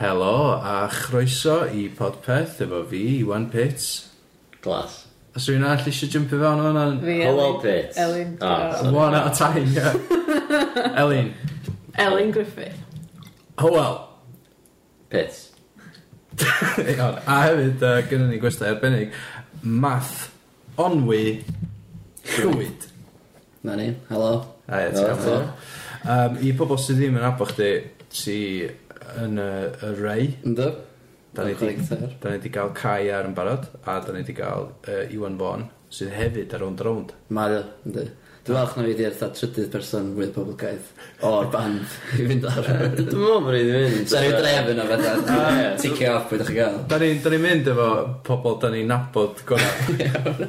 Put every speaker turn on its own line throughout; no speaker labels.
Helo a chroeso i podpeth efo fi, Iwan Pits.
Glas.
Os rwy'n all eisiau jympio fewn o'n hwnna'n...
Fi,
Hello,
Elin-
Pit.
Elin.
Ah,
Diolch.
sorry.
One at a time, yeah. Elin, Oh,
Elin Griffith.
hywel.
Pits.
Iawn, A hefyd, uh, gynnu ni gwestiwn arbennig, math onwy llwyd.
Na ni, helo.
A ie,
Helo,
ti'n
helo.
gael. Um, I pobl sydd ddim yn abo chdi, ti yn y, y rei.
Ynddo?
Da ni
Dwi'n
di,
chwer.
da ni di gael Kai ar yn barod, a da ni di gael uh, Iwan Bon, sydd hefyd ar ond rownd.
Mario, ynddo. Dwi'n falch na fi di eitha trydydd person mwy poblogaidd o'r band i fynd ar.
Dwi'n meddwl bod ni wedi mynd.
So rhyw dref yna fydda.
Ah, ie.
Ticio off beth chi'n gael.
Da ni'n ni mynd efo pobl da ni'n nabod gorau.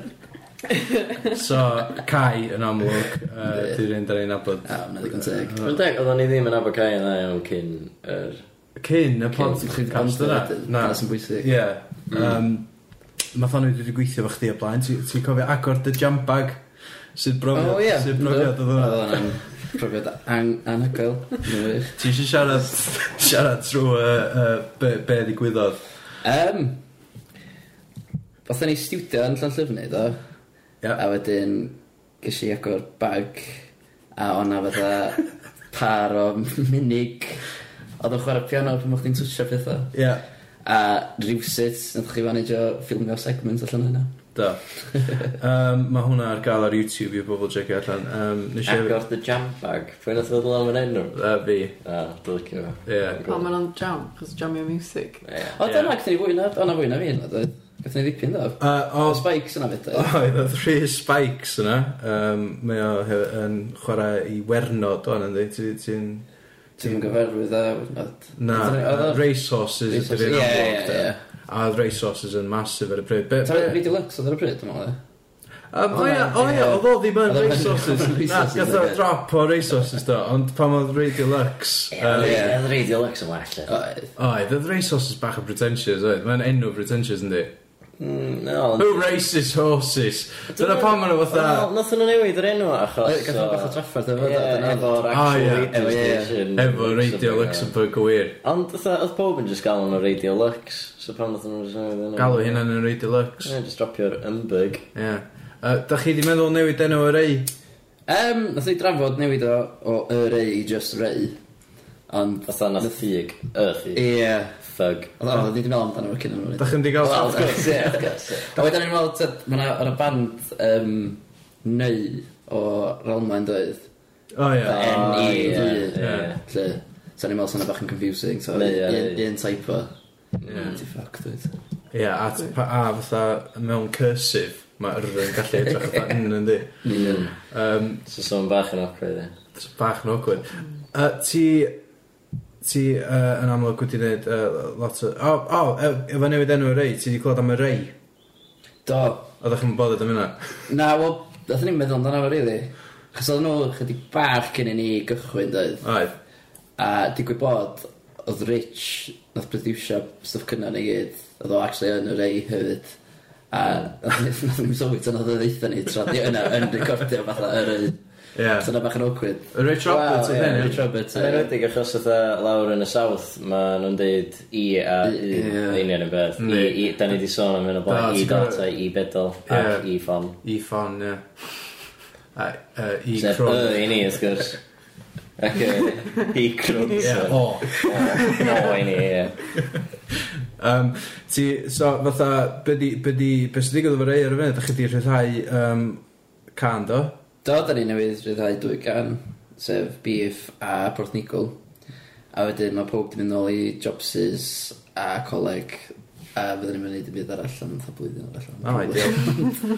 so, Kai yn amlwg, uh, dwi'n rhan da ni'n nabod.
A, mae'n ddigon teg.
Mae'n deg, oedden ni ddim yn abod cael yna iawn cyn yr...
Cyn y pod
Cyn- cyn
cast
podcast
yna.
wedyn.
Na,
Na, sy'n bwysig.
Ie. Yym, Math o'n wedi gweithio fo chdi o blaen, Ti- ti'n cofio agor dy jump bag sydd brofiad,
O, Oh, ie.
sydd Oh, brofiad oedd hwnna.
Oedd hwnna'n profiad ang- anhygoel. Mae'n wych.
Ti eisiau siarad, siarad trwy uh, uh, be, be ddigwyddodd?
Yym. Fatha ni studio yn Llanllyfni, do?
Ie.
A wedyn, ges i agor bag, a o'na fatha par o munig. Oedd yn chwarae piano pan o'ch chi'n twtio pethau.
Ie,
A rhywsut, nath chi fanage o ffilmio segment allan hynna.
da. Um, mae hwnna ar gael ar YouTube i bobl checio allan. Um, nes i...
Agor the jam bag. Pwy'n oedd ddod am yn enw?
Uh, fi.
A, dwi'n licio fo.
Ie.
O, maen nhw'n jam, cos jamio music.
Ie.
O,
Ie.
dyna, gathen ni fwy na, o'na fwy na fi hynna, do? Gathen ni ddipyn, do?
Uh,
O,
o,
spikes yna fyd, do?
Oedd y rhi spikes yna, um, mae o he- yn chwarae i wernod o'n ynddi, Ti- ti'n...
Ti'n gyfarwydd a... whatnot.
Na,
Oedd o-
racehorses
Racehorses,
ydy'r un
ie,
amlwg.
ie,
de.
ie.
A oedd racehorses yn massive ar y pryd. Be-
Ta'n
be-
rhaid i Lux oedd ar y pryd, dwi'n meddwl, ie?
Um, O ia, o ia,
e- Ie.
oedd o ddim yn
Oedd o-
racehorses.
oedd o'n
Na,
racehorses,
gath o
ie.
drop o racehorses do, ond pam oedd Radio Lux...
Ie.
um,
Oedd radio Lex yn well. ie.
Oedd.
Oedd, oedd racehorses bach yn pretentious, oedd. Mae'n enw pretentious, yndi.
Mm, No, ond...
Who races horses?
e-
Dyna pam maen nhw fatha...
Wel, Nathon nhw newid yr enw achos...
Ie, gathon nhw
o-
bach o trafferth efo,
Ie,
dyna.
Efo'r
Ah, ie.
actual radio
Efo, ie.
station.
Efo Radio
Something like that.
Luxembourg o wir.
Ond fatha, oedd pob yn just galw nhw Radio Lux, so pan oedd nhw'n just newid enw?
Galw hynna'n yn Radio Lux.
Ie, just dropio'r Ymburg.
Ie. Yy, Dach chi di meddwl newid enw y rei?
Um, nath ni drafod newid o, o y rei i just rei. Ond...
Fatha nath ffug, y ffug,
Mm.
Ie.
ffug.
Oedd o'n ddim yn meddwl amdano fo cyn o'n rhaid.
Dach chi'n di gael...
Wel, of course, ie, of course. ie. A wedyn ni'n meddwl, tyd, mae'na ar y band um, neu o Ralmain doedd.
O ie.
Fatha N-E,
ie,
dwi.
ie.
E, Lle, so ni'n meddwl sy'n bach yn confusing, so
Neu, ie,
un-
neu.
un type o.
Ie.
Ti ffoc, dwi.
Ie, a, t- pa- a fatha mewn cursif, mae yr yn gallu edrych fatha yn yn di.
Mm.
Ie.
Um,
So son bach yn awkward, ie.
it's bach yn awkward. Uh, ti, ti uh, yn amlwg wedi gwneud uh, lot o... O, oh, oh, efo newid enw y rei, ti wedi clod am y rei.
Do.
Oeddech chi'n bothered am hynna?
Na, wel, nath ni'n meddwl amdano fo, rili. Chos oedd nhw chydig bach cyn i ni gychwyn, doedd.
Oedd.
A digwydd bod, oedd Rich, nath produsio stuff cynna ni gyd, oedd o actually yn y rei hefyd. A nath ni'n sylwi tan oedd o ddeitha ni, tra di yna yn recordio fatha yr un.
Ie.
So na bach yn awkward.
Y Rich Roberts
Wel,
yn
ie,
hyn,
Rich Roberts.
Yn enwedig achos oedd lawr yn y south, mae nhw'n deud i a i,
Ie.
union y beth.
E,
I,
Yndi.
i, da ni di sôn am hyn o
Da,
blaen, E i
ti'n gwbod-
data, i bedol, E
Ie.
ac i ffon.
I ffon, ie. A, uh, I
Sef y
crwn.
i ni, wrth gwrs. Ac yy, i crwnt.
Ie,
so-
o.
O, i ni, ie.
Um, ti, so, fatha, be di, be di, be sydd wedi gwybod rei ar y funud, da chi di rhyddhau um, can do?
Do, da ni newydd rhyddhau dwy gan, sef beef a porthnigol. A wedyn mae pob di mynd nôl i jobsys a coleg. A fyddwn ni'n mynd i ddim byd arall am fatha blwyddyn arall.
O, ideal.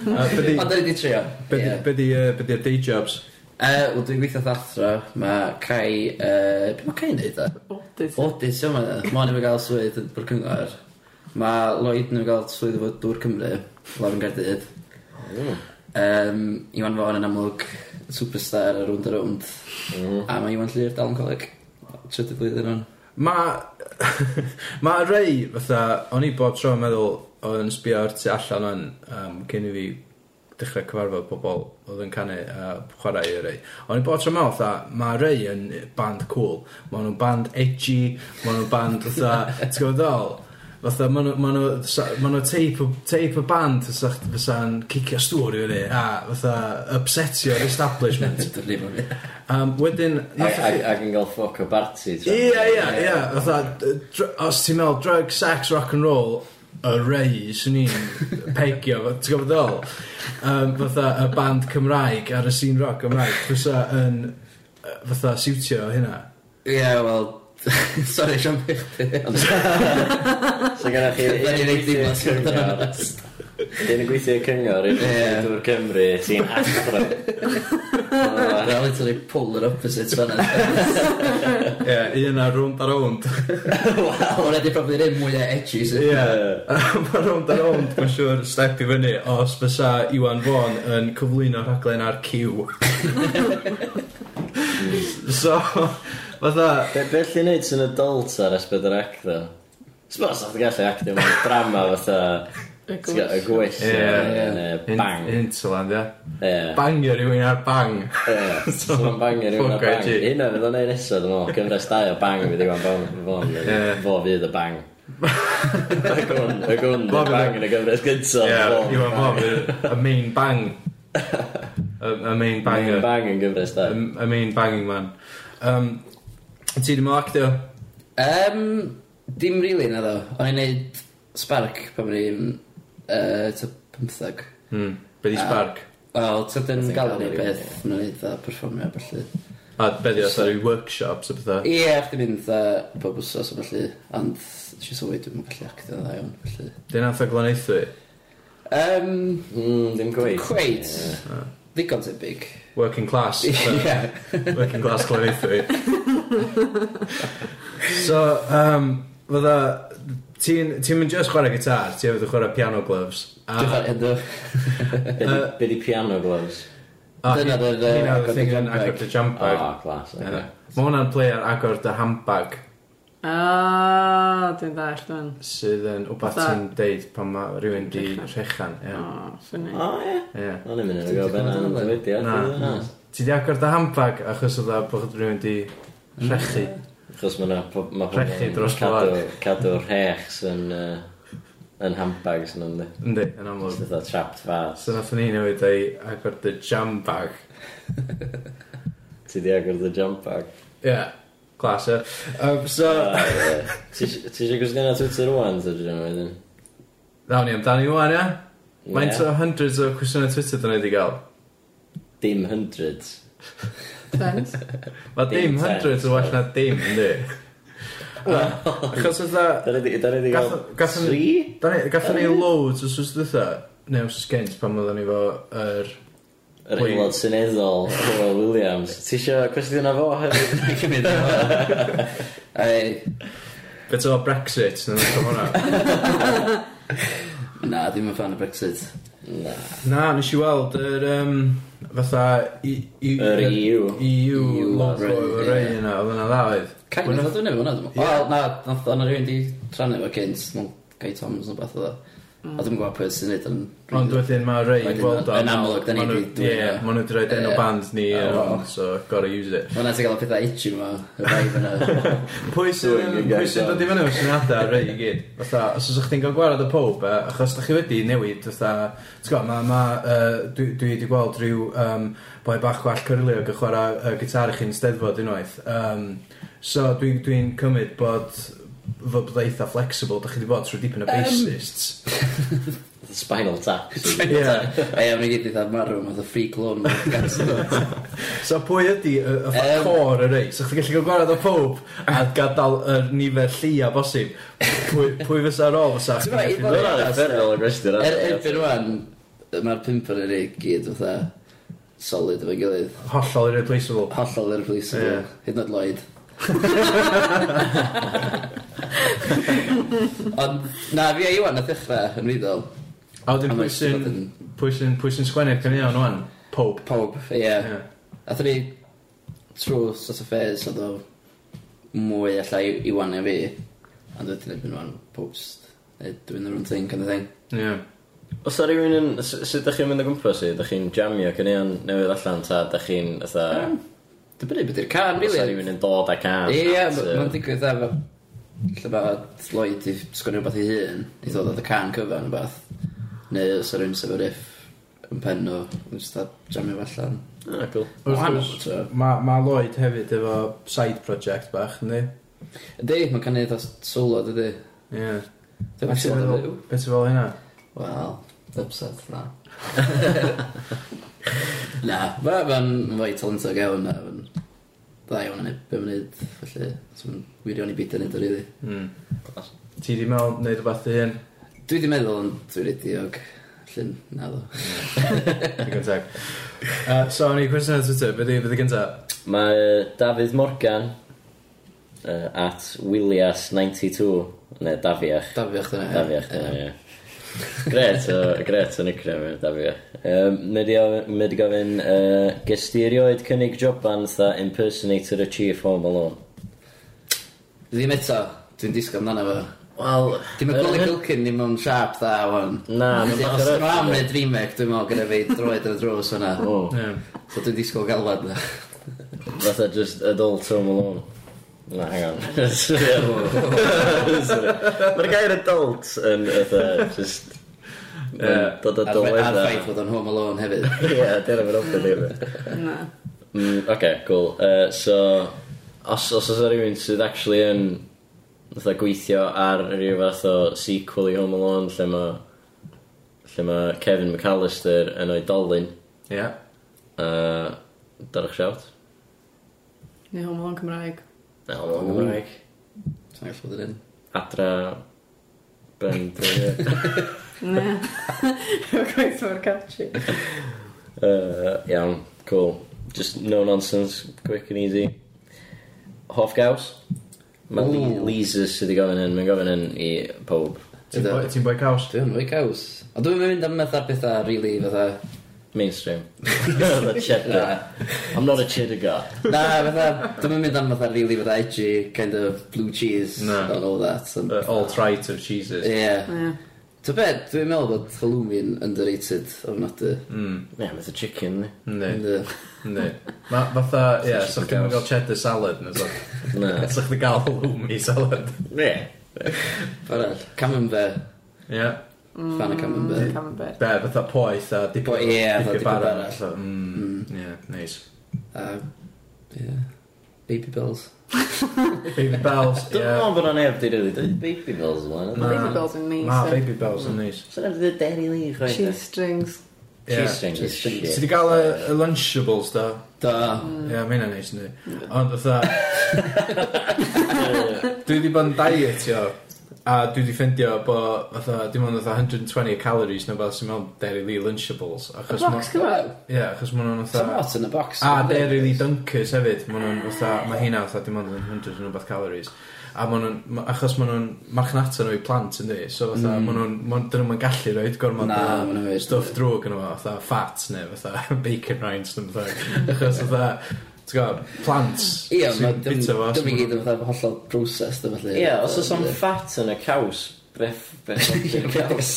Uh, be di,
Ond da ni di trio.
be di,
ie.
be di, uh, be di'r day jobs?
Uh, Wel, dwi'n gweithio athro, mae Cai... Uh, be mae Cai'n neud e?
Odys.
Oh,
Odys yma, mae nhw'n gael swydd yn bwy'r cyngor. Mae Lloyd nhw'n gael swydd efo dŵr Cymru, lawr yn Gardydd. Um, Iwan Fawn yn amlwg superstar ar rwnd a rwnd. A mae Iwan Llyr dal yn coleg. Trydydd blwyddyn hwn.
Ma, ma rei, fatha, o'n i bob tro yn meddwl o'n sbio ar tu allan o'n um, cyn i fi dechrau cyfarfod pobl oedd yn canu a chwarae i rei. O'n i bod tro mewn, tha, mae rei yn band cool. Mae nhw'n band edgy, mae nhw'n band, fatha, ti'n gwybod ddol? Fatha, ma' nhw- ma' nhw- sa- ma' nhw teip o- teip o band fysa chdi- fysa'n cicio stŵr i fyny a fatha upsetio'r establishment.
Dwi'n rhaid bod
Um, wedyn... nathon
Ac ac-
chi-
ac yn cael ffoc o barti. t'mo'?
Ia, ia, ia. Fatha, d- dr- os ti'n meddwl drug, sex, rock and roll, y rei, swn i'n pegio, fo- ti'n gwybod ddol? Um, fatha, y band Cymraeg ar y scene rock Cymraeg, fysa yn, yy, fatha, siwtio hynna.
Ie, wel... Sorry, Sean Bych.
Ond- So gyda chi
Da ni'n neud dim mas o'r
cyngor Dyn yn gweithio i'r cyngor i'r
Ie.
Dŵr Cymru Ti'n athro
Dwi'n rhaid i'n rhaid polar opposite fan
Ie, un ar rownd ar rownd.
Hwna di probably ddim mwy o edgy sy'n
Ie, mae rownd ar rownd, mae'n siŵr, step i fyny, os fysa Iwan Fawn yn cyflwyno rhaglen ar Q. so, fatha,
Be be allu neud sy'n adult ar S4 ac ddo? Sbos o'ch gallu actio mewn drama fatha
Y
ti'n gwbod, Y
gwrs.
gwyll
Ie.
neu- neu Bang
Hint- Hinterland, ie.
Ie.
Bangio rhywun ar bang.
Ie. So ma'n bangio rhywun o
Ffwc o
bang
edgy.
Hynna fydd o'n neud nesaf dwi'n meddwl Gyfres dau o bang fydd i gwan
Ie.
Fo fydd y bang Y gwn y gwn
Fo fydd
y
y-
bang yn y gyfres gyntaf
Ie, e
Fo-
Iwan Bob, y main bang. Y y main
Main
banger.
Bang yn gyfres
Y
dau
y main banging man. Um, ti ddim yn actio?
Um, dim rili really, na ddo. O'n i'n neud Spark pan o'n i'n uh, ta 15.
Hmm, be di
A-
spark?
Wel, ta dyn
Fatha
gael ni
gallery,
beth,
ie.
nhw'n neud dda perfformio felly.
A be di os ar i workshops o bethau?
Ie, chdi mynd dda bob wsos o felly, ond eisiau sylwi dwi'n gallu actio dda iawn felly.
Dyn atho gloneithwy?
Um,
Mm, Dim gweith
Cweit. Ddigon tebyg.
Working class. fatha.
Ie.
Working class gloneithwy. So, um, fydda... Ti'n ti'n mynd just chwarae gitar, ti'n fydda chwarae piano gloves. A-
Dwi'n ffordd edrych.
Be di- Be di piano gloves?
A
Dyna
hi-
fydd,
hynna
yy,
oedd y
agor
thing yn
dy handbag.
agor dy jump bag.
Ah, class
Ie.
okay.
Mae hwnna'n play ar agor dy handbag
Ah, dwi'n dall, dwi'n.
sydd yn wbath
Fatha-
ti'n deud pan mae rhywun di rhechan. ie.
O, ffynnu.
Ah.
O, ie
Ie.
O'n i'n mynd i'n gwybod
Ti'n
benna yn
gwybod
dweud
Na.
Na
Ti di agor dy handbag achos oedd o bod rhywun di rhechu.
Chos mae na po- ma' pobl
Rhechu
yn
dros
cadw-
wlad.
Cadw rhechs yn yy, Yn handbags yn ynddi
Yndi, yn
Just
amlwg.
eitha trapped fast
So nath ni newid ei agor dy jam bag.
Ti di agor dy jump bag
Ie. Glas, ie. Um, So,
Ah, ie. Ti eisiau gwestiwn Twitter rwan Ta dwi'n meddwl
nawn ni amdani yw'n, ie? Maint o hundreds o cwestiynau Twitter dyn ni wedi gael.
Dim hundreds
Tens.
Mae dim
Dim sense.
hundreds o well na dim, yndi. Yy, Achos oedd o...
Da ni di da ni di gael
Gath- gathon ni-
Tri?
Da ni, gatho ni loads os oes dwytha, neu os gynt pan oedden ni fo yr...
Yr
Wait.
aelod syneddol Howell Williams Ti eisiau cwestiwn o fo hefyd?
Dwi'n cymryd efo. e. Ai,
Bet o Brexit, neu beth o hwnna.
Na, ddim yn fan o Brexit.
Na
Na, nes i weld yr, um, fatha... I- I-
Yr EU.
EU
EU
logo
logo,
y rei
ie.
yna, oedd yna dda oedd.
Cain oedd o'n efo hwnna, dwi'n meddwl.
Ie.
Wel, na, nath o'n rhywun di rhannu efo cynt, mae'n Guy Thomas yn beth oedd o. A dwi'n gwybod pwy sy'n neud yn...
Ond wedyn mae rei
Wedyn,
gweld o...
yn amlwg, 'dan ni
ma' nhw-
'di dwyn
Ie,
o.
maen nhw wedi rhoi den o
Ie.
band ni,
Oh,
yn
wow.
hwn, so gotta use it.
Mae'n ti e gael y pethau itchy yma, y vibe yna.
Pwy sy'n
Doing a
pwy sy'n
gag
dod i fyny o'r syniadau ar rei i gyd? Fatha, os ydych chi'n cael gwarad y pob, eh, achos ydych chi wedi newid, fatha, ti'n gwybod, ma, ma, uh, dwi, dwi wedi gweld rhyw um, boi bach gwall cyrlio yn chwarae uh, gitar i chi'n steddfod unwaith. Um, so dwi'n dwi dwi'n cymryd bod fod bod eitha flexible, ydych chi wedi bod trwy dipyn o bassists.
Spinal tap
Ie.
A iawn, ni gyd i dda marw, mae'n free clone.
So pwy ydy y, y
Yym.
um, core y rei? So chdi gallu cael gwarad o pob a gadael y nifer lli a bosib. Pwy, pwy fysa ar ôl fysa?
Ti'n gwbod, i fod-
Dwi'n effernol o gwestiwn
Er erbyn rwan, mae'r pimper yn ei gyd fatha solid efo'i gilydd.
Hollol irreplaceable.
Hollol i'r polis
Ie.
Hyd yn oed Lloyd Ond na fi a Iwan na ddechrau yn rydol
A wedyn
A
pwy
mae
sy'n
Stephen-
pwy sy'n pwy sy'n sgwennu'r caneuon o'n Pope.
Pob, ie
Ie.
Athyn ni trwy sort of phase oedd o mwy allai Iwan neu fi Ond wedyn erbyn rwan post Dwi'n yr un thing kind of thing
Ie.
Os da rhywun yn... s- Sut da chi'n mynd o gwmpas i? Da chi'n jamio cynnion newydd allan ta? Da chi'n... fatha-
Dwi'n brynu beth i'r can,
Os da
really.
rhywun yn dod â can?
Ie,
ta?
ma- ma'n digwydd efo... Lle bod Lloyd i sgwini rhywbeth i hun, i ddod oedd y can cyfan yn bath. Neu os ar un sef riff yn pen nhw, yn just a jamio fo allan.
Ah, cool.
Wrth
Wahanol,
gwrs,
t'wo.
Mae ma Lloyd hefyd efo side project bach, ynddi?
Ydy, mae'n canu eitha solo, dydy.
Ie.
Dwi'n
Beth
meddwl bod
fel- beth sy'n fel hynna?
Wel, upset, na. na, ma- ma'n fwy talentog iawn, na. Ma'n dda iawn yn ei beth mae'n neud, felly. so Ma'n wirio'n i byd yn neud o, rili.
Mm. Ti di meddwl neud rhywbeth i hyn?
Dwi di meddwl, ond dwi'n ridiog. Llyn, na ddo.
Digon teg. Uh, so, ni cwestiwn ar Twitter, beth i fydd y gynta?
Mae yy, Dafydd Morgan uh, at Willias92 neu Dafiach.
Dafiach dyna. ie.
Dafiach,
Ie.
dyna, ie. Gret o, gret o nickname yn Dafiach. Um, Mae di gofyn, uh, ges ti erioed cynnig joban tha impersonator y chief home alone?
Ddim eto, dwi'n disgo amdano fo.
Wel,
Dim yn Gwilym Gilkin, ddim yn sharp dda, wan.
Na,
Felly,
ma'n
os
bach
dwi'n
ar-
am neu Dreamhack, dwi'n meddwl gyda fi droed yn y drws fyna.
O,
Ie.
So dwi'n disgo galwad na.
fatha just adult home alone. Na, hang on. Sorry. Mae'r gair adult yn fatha, just...
Ie.
ma'n Dod â
A'r fe- a'r
dylweddau.
ffaith fod o'n Home Alone hefyd.
Ie, dyna fe'n ofyn i fi.
Na.
Mm, okay, cool. Uh, so, os, os oes rhywun sydd actually yn fatha gweithio ar rhyw fath o sequel i Home Alone lle mae lle mae Kevin McAllister yn oedolyn
Ie.
uh, darach siawt
Neu Home Alone Cymraeg.
na Home Alone Gymraeg
Sa'n gallu bod yn un.
adra ben uh,
Na. Yw'n gweithio mor catchy.
iawn, cool just no nonsense, quick and easy hoff gaws mae
Ooh.
Leasers sydd i gofyn hyn mae'n gofyn hyn i pob
Ti'n boi- ti'n boi caws?
Dwi'n fwy gaws. Ond dwi'n mynd am fatha bethau, really, fatha...
Mainstream. I'm a
Na,
cheddar. I'm not a cheddar guy.
na fatha... Dwi'n mynd am fatha, really, fatha edgy, kind of blue cheese,
Na.
and all that. and-
Uh, all trite of cheeses.
Ie.
Ie.
Ti'n bed, dwi'n meddwl bod halloumi'n underrated ofnadwy.
Mm.
Yeah, with a chicken.
Yndi,
Yndi.
yndi. Ma fatha, ie,
Sausage
so
and
chdi'n mynd
cows.
gael cheddar salad na so.
No.
So chdi gael halloumi salad.
Yeah.
Arall, camembert.
Ie.
Mm.
Fan o camembert.
Camembert.
Be, fatha poeth a dipyn
Po- ie, fatha dipyn
bara.
bara.
So, mm, Ie, neis.
A, ie. Baby bells.
Baby bells,
Dwi'n
ie.
meddwl bod o'n efo di rili dweud baby bells ymlaen.
Na.
Baby bells yn neis.
Ma,
eh?
baby bells yn neis.
Sa'n efo dweud Derry Lee chwaith.
Cheese strings.
Ie.
Cheese strings.
Cheese strings.
Ti di gael y y Lunchables, da?
Da.
Ie, mae hynna'n neis, yndi. Ond, fatha, dwi di bod yn dietio, a dwi di ffeindio bod, fatha, dim ond fatha 120 calories neu beth sy'n mewn Dairy Lee Lunchables. Achos ma-
Box gyfer.
Ie, achos ma' nhw'n
Sa'n
fatha...
lot yn y box.
A Dairy Lee Dunkers hefyd, ma' nhw'n fatha, ma' hynna fatha dim ond yn 100 neu beth calories. A ma' nhw'n, ma- achos ma' nhw'n marchnata nhw i plant yndi, so fatha, ma' nhw'n, ma' dyn nhw'n gallu roed gormod
Mm. Na,
o
ma' nhw'n weird.
stuff drwg yn yma, fatha fat neu fatha bacon rinds neu fatha. Achos fatha, ti'n gwybod, plant
Ie, ma'
sy'n
dim
bita fo.
dim i gyd yn fatha hollol broses, dy falle.
Ie, os oes o'n fat yn y caws, beth... Beth o'n caws?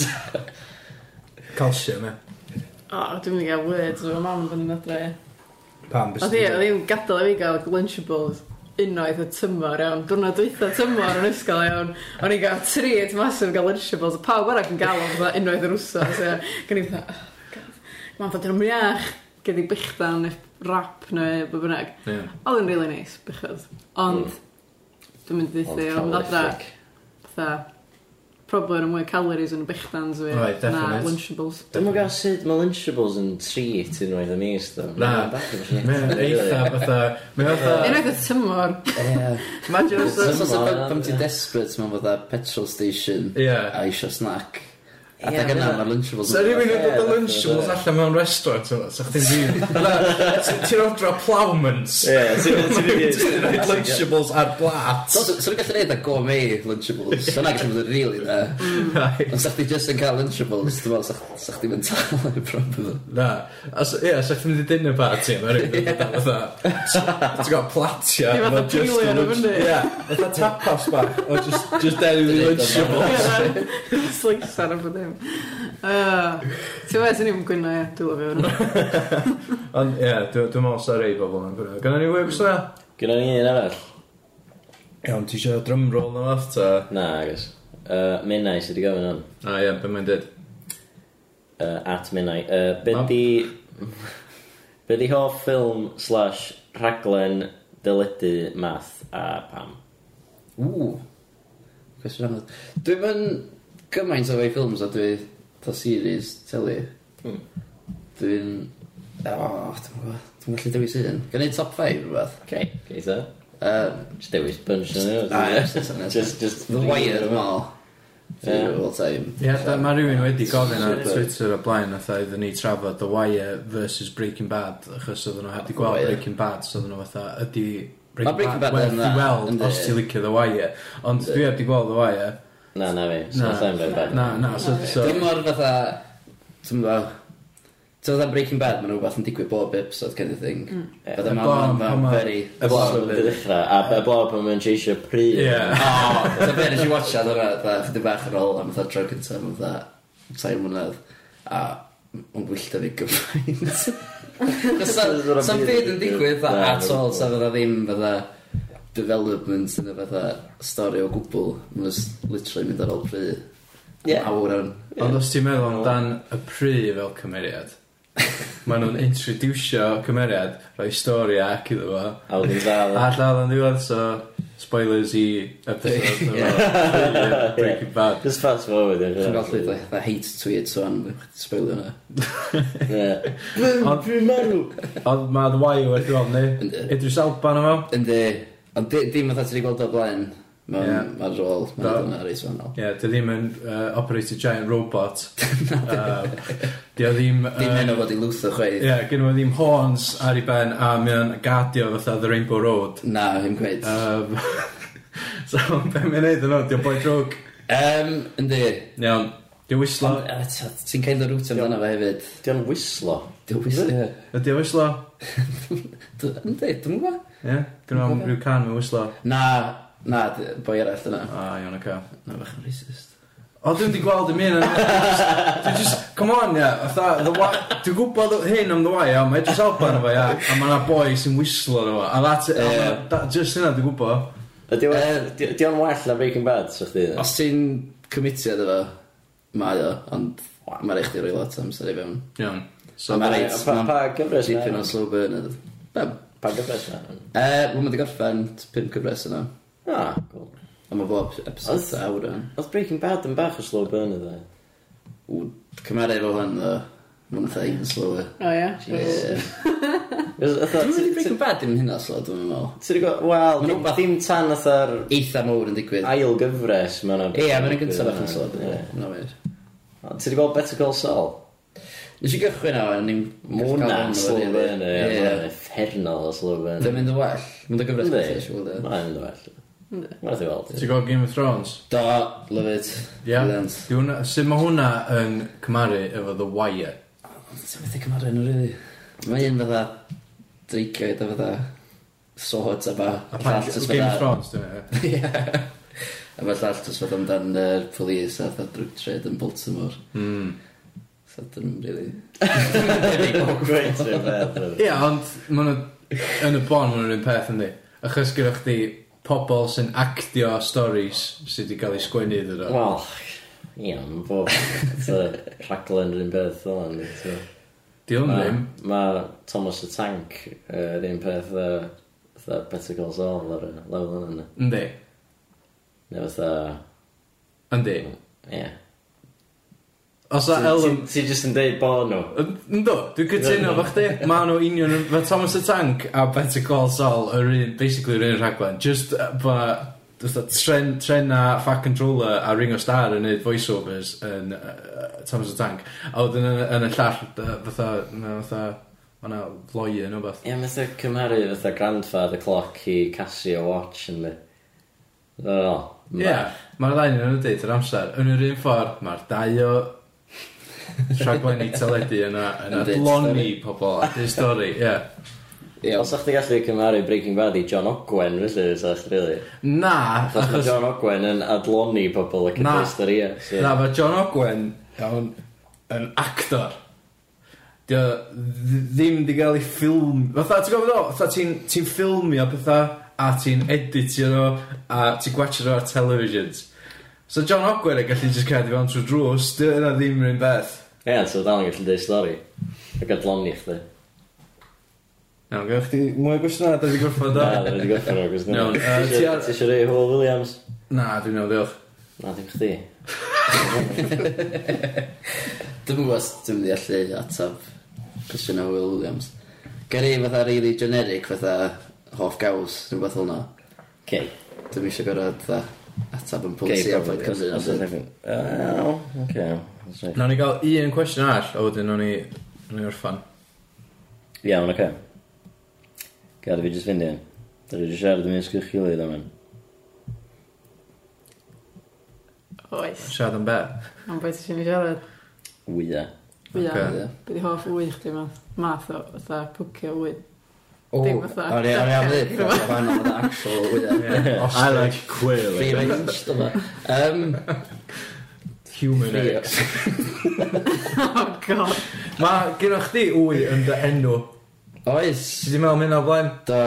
Calcium, e.
O, Ah, dwi'n mynd i gael words o'r mam yn fynd adre.
Pam, bys
Oedd hi, oedd hi'n gadael i fi gael Lunchables unwaith y tymor iawn. Dwi'n dweitha tymor yn ysgol iawn. O'n i'n gael treat masif gael Lunchables. a Pawb arall yn gael o'n fatha unwaith yr wsos. ia. Gan i'n fatha, oh, God. Mae'n fatha dyn nhw'n iach. Gyd i bychdan neu rap neu be bynnag.
Ie.
Oedd yn really neis, bychod. Ond,
Hmm.
dwi'n mynd i ddeitha o'n adra. Fatha, probably yn mwy calories yn y bychdans fi
Right,
na
definite.
Lunchables.
Dwi'n mwyn gael sut mae Lunchables yn treat unwaith am is, ddo.
Na. Mae'n eitha fatha, mae'n fatha,
Unwaith y tymor.
Ie.
imagine os...
Os oes
Tymor,
pam ti'n
ie.
desperate, mae'n fatha petrol station.
Ie.
A eisiau snack. A
Ie,
da
ma'
gyna,
hynna-
mae'r lunchables.
So rhywun yn dod o
Ie,
Lunchables
ie.
allan mewn restaurant yma, so chdi'n ddim... Ti'n odro Plowmans.
Ie, ti'n
Ti'n rhaid Lunchables ar blat.
So, so gallu neud a go me lunchables. So na gallu bod yn really dda.
Mm. Right.
Ond sa'ch ti just yn cael lunchables, dwi'n meddwl sa'ch- sa'ch ti'n mynd tal yn y problem.
Na. Os- Ie, so chdi'n mynd i dinner party yma, rhywun yn dod o fatha... Ti'n gwybod platia.
Ie,
efo just y
fatha pili ar y
lunch-
fyny.
Ie, fatha tapas bach. O, just- just dairy
Dwi'n
with
neud o
Lunchables.
Slice ar y fyddin. ddim. Yy, Ti'n fes, ni'n gwyno, ie, dwi'n lyfio hwnna.
Ond ie, dwi- dwi'n meddwl sy'n rei bobl yn gwneud. Gynna ni web sna?
Gynna ni un arall?
Iawn, ti eisiau drum roll na fath ta?
Na, agos. Uh, Minnau sydd wedi gofyn hwn.
A ie, beth mae'n dweud?
Uh, at Minnau. Uh, be
Mam.
di... Be di hoff ffilm slash rhaglen dyledu math a pam?
Ww. Cwestiwn anodd. Dwi'n mynd gymaint o fei ffilms a dwi ta series teli.
Hmm.
Dwi'n... O, dwi'n gwybod. Dwi'n gallu dewis un. Gan i top 5 rhywbeth.
Okay, geitha.
Uh,
Just dewis bunch o'n
ah,
nhw.
yes, yes, yes.
Just, just...
The Wire yn ôl.
Ie.
Dwi'n all time.
Ie, da- mae rhywun wedi gofyn ar Twitter o blaen fatha iddyn ni trafod The Wire versus Breaking Bad achos oedden nhw wedi gweld
Wire.
Breaking Bad so oedden nhw fatha ydy
Ma' Breaking Bad
werth
yn
i
dda,
weld
yndi.
os ti'n licio The Wire ond dwi wedi gweld The Wire
Na, na fi. So, sa'n fe bad.
na, na, so, so
Dwi'n mor fatha... Dwi'n gwybod. Ti'n fatha Breaking Bad, mae'n rhywbeth yn digwydd bob episode kind of thing. Fydda
Y
ma'n
blaen pan
ma'n
ma-
very...
y blaen.
Blawb yn ddechrau, a blawb yn mynd eisiau pryd.
ie
O, ta fe nes i watcha dyna, dda, chydig bach ar ôl am dda tro cyntaf, am dda, sain mwynedd, a yn gwyllta fi gyfaint. Sa'n byd yn digwydd dda at all, sa fydda ddim fydda development yn y fydda stori o gwbl, mae'n just literally mynd ar ôl pryd.
Ie.
Yeah. Awr o'n...
ond os ti'n meddwl amdan y pry fel cymeriad maen nhw'n introducio cymeriad rhoi stori ac iddo fo
A wedyn
a
dal.
lladd yn ddiwedd so spoilers i episode o Breaking Bad
Just fast forward.
Dwi'n gallu dweud, dda hate tweets o'n sbwylio hwnna.
Ond dwi'n marw Ond mae The Wire wedi gweld ni
Yndi.
Idris Elba na fo
Yndi, ond di- dim oedd ti wedi gweld o blaen,
Ie.
mae'n yeah. rôl,
Do.
mae'n dyna reis fanol.
Ie, dy ddim yn uh, operate a giant robot Yy, Dy o ddim yy,
Dim hyn o fod i lwtho chweith.
Ie, gen nhw ddim horns ar ei ben A mae o'n gadio fatha The Rainbow Road
Na, ddim gweud.
Yym, So, be mae'n neud yn o'n, di'n boi drwg
Yym, yndi.
Iawn, di'n wislo
Ond, yy, t- Ti'n cael y rwt amdano fe hefyd.
Dio'n wislo.
Dwi'n wislo.
Ydi o wislo?
Yndi, dwi'n gwybod.
Ie, gen nhw am rhyw can mewn wislo
Na, na, d- boi arall yna.
A, iawn, oce
Na, bach yn racist.
O, dwi'n di gweld ym un yn... Dwi'n just, come on, ia, fatha, the wa- dwi'n gwybod hyn am the wai, ia, mae Edris Alba yn efo, ia, a mae yna boi sy'n whislo yn efo, a that's it,
Ie.
yeah. that, just hynna dwi'n gwybod.
Dio'n well na Breaking Bad, so chdi.
Os ti'n commitio iddo fo, mae o, ond mae'n eich di roi lot o amser i fewn.
Iawn. So,
So, mae'n
Ie,
reit,
pa- pa
mae'n
gyfres mae
dipyn
o?
o slow burn ydw. Bam.
Pa gyfres na?
Yy, Wel, mae'n di gorffen pum cyfres yna.
Ah, cool.
A mae bob episode
Oedd-
awr yn.
Oedd Breaking Bad yn bach o slow burn iddo.
Ww, Cymeru fo hwn, ddo. Mae'n thai yn slower.
O, ie.
Ie. Dwi'n mynd i
Ti'n
Breaking Bad dim hynna slow, dwi'n meddwl.
gwybod, wel,
Ma'n
dim-
rwbath-
dim tan atha'r
Eitha mowr yn digwydd.
ail gyfres mae'n
Ie, mae'n gyntaf bach yn slod. Na wir.
Ti'n gweld Better Call Saul?
Nes i gychwyn o, o'n i'n...
Mwna slow burn
Ie.
Mae'n effernol o slow burn
Dwi'n mynd yn well. Mae'n dy gyfres
Yndi.
gyda, siw gwybod.
Mae'n well. Mae'n rhaid i weld.
ti'n gweld Game of Thrones?
Do, love it.
Ie.
Brilliant.
Di hwnna- Sut mae hwnna yn cymaru efo the wire?
Ti'n methu cymryd yn rydw i. Mae un fydda... Dreigio gyda fydda... Swords a ba.
A pan Game of Thrones, dwi'n meddwl.
Ie. A mae llall tos fydda amdan yr polis a fydda drug trade yn Baltimore. Hmm.
Mm.
So dwi'n rili...
Great rhyfedd.
Ie, ond ma' nhw- yn y bon maen nhw'n un peth yndi. Achos gyda chdi pobl sy'n actio stories sydd wedi cael eu sgwennu iddyn nhw.
Wel, ie, mae bob fatha rhaglen yr un peth fel yna. ynddo,
Di
ti'n
hwn
gwbod?
ddim.
Mae ma Thomas y Tank yy, yr un peth yy, fatha Better Call Saul ar y lefel yna.
Yndi.
Neu fatha,
Yndi.
ie.
Os a Elm...
Ti- Ti jyst yn deud bo nhw.
Ynddo, dwi'n cytuno fo chdi. Ma' nhw union... yn- Mae Thomas the Tank a Better Call Saul yr un, basically yr un rhaglen. Just uh, ba... Dwi'n tren, trena, Fat Controller a Ringo Starr yn neud voiceovers yn uh, Thomas the Tank. A wedyn yn, yn y llall, yy, fatha, na, fatha, ma' na loi yn o beth.
Ie, mae'n cymharu fatha grandfather clock i Casio watch yn di. Ie.
Ie, mae'r ddau yn y deud yr amser. Yn yr un ffordd, mae'r dau o rhaglenni teledu yna yn
Yn deud
adloni pobl at ei stori, ie.
Ie,
Os o'ch ti gallu cymharu Breaking Bad i John Ogwen, felly, sa'ch rili.
Na,
Achos mae
achos...
John Ogwen yn adloni pobl ac yn
Na.
dweud stori, ie.
Na, mae John Ogwen iawn, yn actor. Dio dd- ddim di gael ei ffilm... Fatha, ti'n gofod o? Fatha, ti'n ti ffilmio pethau a ti'n editio nhw a ti'n gwachio nhw ar televisions. So John Ogwer yn gallu just cael ei fewn trwy drws, dio yna ddim rhywun beth.
Ie, yeah, so dal yn gallu dweud stori. A gadloni chdi.
Iawn, gwych chi mwy o gwestiwn na, da wedi gorffod
Na,
o.
dwi'n wedi goffa nhw, gwrs nhw.
Iawn,
Ti
yy, ti
isio-
ar-
ti isio rei Hall Williams?
Na, dwi'n iawn, diolch.
Na, dim chdi.
Dwi'n gwybod os dwi'n mynd i allu atab cwestiwn o Will Williams. Ger i fatha really generic fatha hoff gaws, dwi'n gwybod hwnna.
Cei.
Dwi'n eisiau gorfod fatha atab yn
Gay
polisi ar fod
probably, os oes
cymryd.
nefyn. Wel, oce. that's right.
Nawr ni gael un cwestiwn arall, a wedyn o'n i... O'n i orffan.
Iawn, oce. Gad i fi jyst fynd i'n. Dwi'n rhaid i siarad am ysgwch gilydd am hyn.
Oes,
Siarad am be.
am beth sy'n ei siarad.
Wya.
Wya,
Ocê.
be di hoff wy chdi ma? Math o, fatha, pwcio wy.
O,
Dim fatha-
o'n i am ddeud, fatha fan o'n actual wyda.
I like
Free
quail.
range, dyma. Yym,
Human
free-
eggs.
Oh god.
Mae gyda chdi wy yn dy enw.
Oes,
Ti di meddwl mynd o blaen?
do.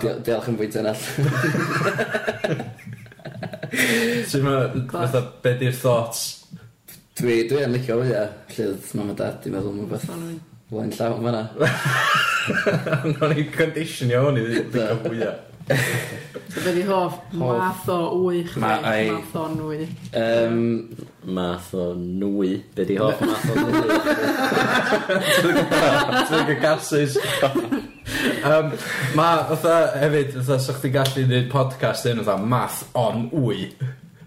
Di- Diolch yn bwynt yn all.
Ti di meddwl,
Class.
fatha, be di'r thoughts?
Dwi, dwi yn licio wyda. Llydd mam a dad, dwi'n meddwl mwy beth. Wain llawn fanna.
O'n i'n conditionio hwn i ddweud fwyaf.
So be di hoff math o wy chdi?
Ma- ai-
Math o nwy.
Yym,
Math o nwy. Be di hoff math o nwy?
Twig y gases. um, mae, fatha, hefyd, fatha, sa'ch ti gallu gwneud podcast yn, fatha, math on wy.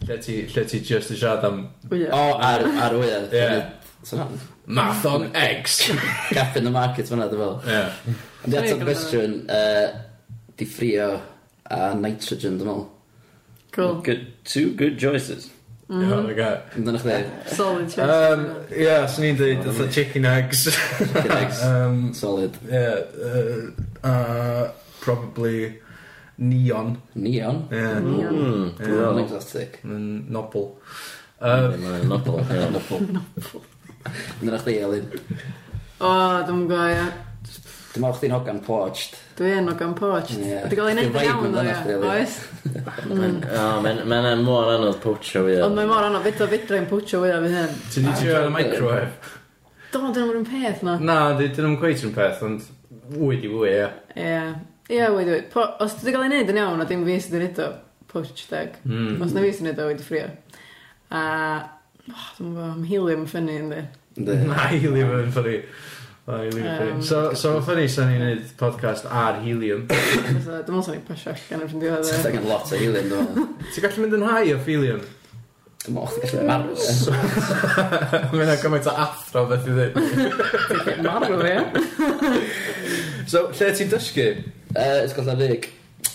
Lle ti, lle ti just yn siarad am
Wya.
O, ar, ar wyau.
Ie.
So,
math on eggs.
gap in the market fyna, dwi'n fel.
yeah.
Ond
Sorry,
eto
gyda-
gwestiwn, uh, di ffrio a nitrogen, dwi'n meddwl.
Cool.
Good, two good choices.
Mhm.
Mm -hmm.
Dyna chdi,
Solid choice.
Um, yeah, swn i'n dweud, fatha chicken eggs.
chicken eggs.
um,
Solid.
yeah, uh, uh, probably neon.
Neon.
Yeah.
Neon.
Hmm.
Neon exotic.
Mm, nobl. Um,
Mae'n nobl.
Dyna chdi, Elin.
O, dwi'n gwa, ia.
Dwi'n meddwl chdi'n hogan poached.
Dwi yn o gan poch.
Ie.
Wedi gael ei
Dwi'n
wneud yn
vibe
iawn,
amdano chdi,
ddo,
Elin.
ia. Oes?
Mae'n mor anodd pocho fi.
Ond mae mor anodd, fedra fedra i'n pwtio wya fi hyn.
Ti di trio y microwave?
Do, dyn nhw'n peth na.
Na, di- dyn nhw'n gweith yn peth, ond wyd i wyd, ie.
Ie. Ie, wedi wedi. Po- Os dwi wedi cael ei wneud yn iawn, a dim fi sydd wedi wneud o, poach deg.
Mm.
Os na fi sydd wedi wneud o, wedi ffrio. A... Oh, dwi'n gwybod, am helium yn ffynnu, ynddi.
Ynddi.
Na, helium yn ffynnu. Na, helium yn
Yym.
ffynnu. So, so mae'n ffynnu sa'n ni'n gwneud podcast ar helium.
Fatha, Dwi'n meddwl sa'n i'n pasio allan o'r ffrindiau
Ti'n
dde.
angen lot o helium, dwi'n meddwl.
Ti'n gallu mynd yn high o helium?
Dwi'n meddwl chdi'n gallu marw. ie.
Mae'n a gymaint o athro beth i ddweud.
Marw, ie.
So, lle ti'n dysgu?
Yy, Ysgolta Rig.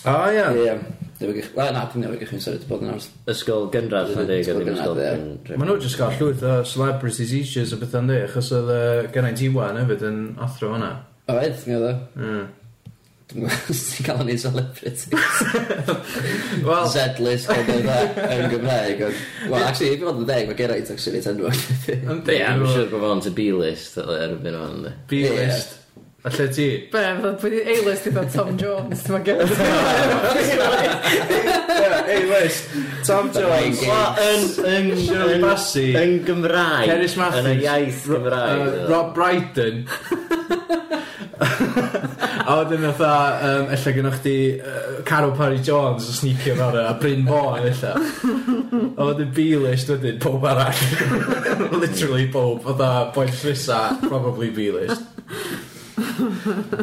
O, ie.
Ie. Dwi'n meddwl, wel, na, dwi'n meddwl, dwi'n meddwl, dwi'n meddwl,
Ysgol gynradd yn deg, a ddim ysgol gynradd.
Maen nhw jyst gael llwyth o celebrities issues o bethau'n di, achos oedd yy, gennau diwan hefyd yn athro hwnna.
Oed, mi oedd o.
Mm.
Dwi'n gwybod os ti'n cael ni celebrity.
Wel,
Z-list gael dweud dda yn Gymraeg. ond- Wel, actually, i fi fod yn deg, mae Geraint actually yn tenwa.
yndi,
Ie, I'm
dwi'n
sure bod fo'n to B-list erbyn o'n ynddi.
B-list. A lle ti?
Be, fatha, pwy di A-list i Tom Jones, dwi'n meddwl.
A-list. Tom Jones.
Yn, yn,
Shirley Bassey.
yn Gymraeg.
Cerys Matthews.
Yn y iaith Gymraeg.
Yy, Uh, Rob Brydon. a wedyn fatha, um, ella gynnwch chdi uh, Carol Parry-Jones o sneakio fel yna, a Bryn Fawn ella. A wedyn B-list wedyn, pob arall. Literally pob, fatha boen Frisa, probably B-list.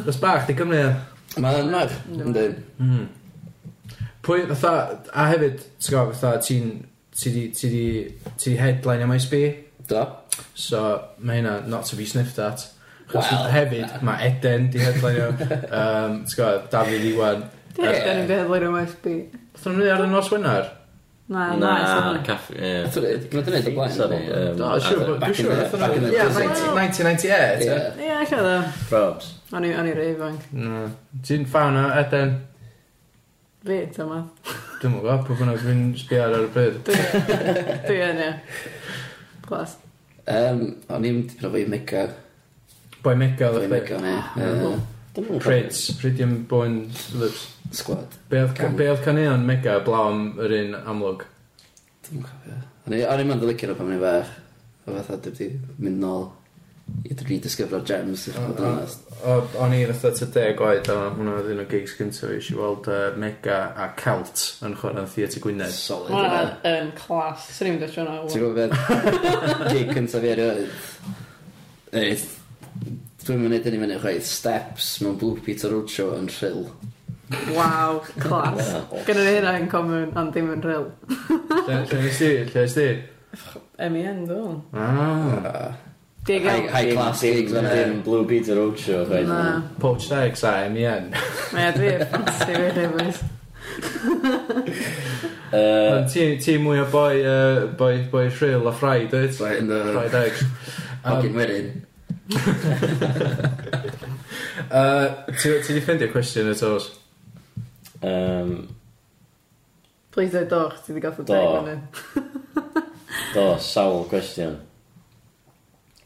Dys bach, di Cymru. e? ia?
Mae'n mach, ynddi.
Pwy, fatha, a hefyd, ti'n gwybod, fatha, ti'n, ti di, ti di, ti di headline MSB,
Do.
so mae hynna not to be sniffed at. Chos
Wel,
hefyd, mae Eden di headline o, um, ti'n gwybod, Dafydd Iwan.
Dwi'n meddwl beth lwy'r OSB.
Fatha nhw'n mynd ar y nos wenar?
Na, na,
Na,
na.
caff... Ie.
Dwi'n meddwl yn blaen.
Sorry.
dwi'n meddwl.
yym,
Do, siwr,
Arthur.
dwi'n
back in
siwr,
the-
fatha
back in
nhw'n-
the
Ie,
Disney.
19- 1998, ie.
Ie.
Ie, allan dda.
Probs.
O'n i- o'n i'n rei ifanc.
Na. Ti'n fan o Eden?
Fi, ti'n meddwl.
Dwi'n mwyn gwybod, pwy bynnag dwi'n sbiar ar y bryd.
Dwi dwi yn, ie. Glas.
Um, o'n i'n mynd i brofio i Mega.
Boi mega
Boi
oedd
Mega, ne.
Ie. Prids, Pridium Boen Lips.
Squad.
Be oedd
Gang.
be oedd caneuon mega blaw am yr un amlwg?
Dwi'n cofio. O'n i- o'n i'n mynd i licio nhw pan i'n fach. O fatha, dwi wedi mynd nôl i redisgyfro'r gems, i'r bod yn onest.
O- o- O'n i fatha ty deg oed a hwnna oedd un o gigs gyntaf i eisiau weld yy, Mega a Celt yn chwarae'n theatr Gwynedd.
Solid.
Hwnna
yna.
yn clas. Swn i'n dweud
Ti'n
hwnna.
gwybod beth? Gig cyntaf fi erioed. Ei, Dwi'n mynd i dynnu fyny chwaith. Steps mewn Blue Peter Roadshow yn rhyl.
Waw, clas. Gynna ni hynna yn common, ond ddim yn rhyl.
Lle lle nes di? Lle nes di?
MEN, dwi'n.
Ah.
Dig
High
out.
high class gigs fan hyn.
Dim Blue Peter Roadshow, chwaith.
Na.
Poach Degs a MEN.
Mae dwi ffansi fe nefys.
Yy,
Ond Ti ti mwy o boi, yy, boi, boi Rhyl a Fry, dweud?
Fry, yndw.
Fry Degs.
Hogyn wedyn.
Yy, Ti ti di ffeindio cwestiwn eto? oes?
yym,
Please dweud doch, ti wedi goffi
Do.
deg yn y.
Do, sawl gwestiwn.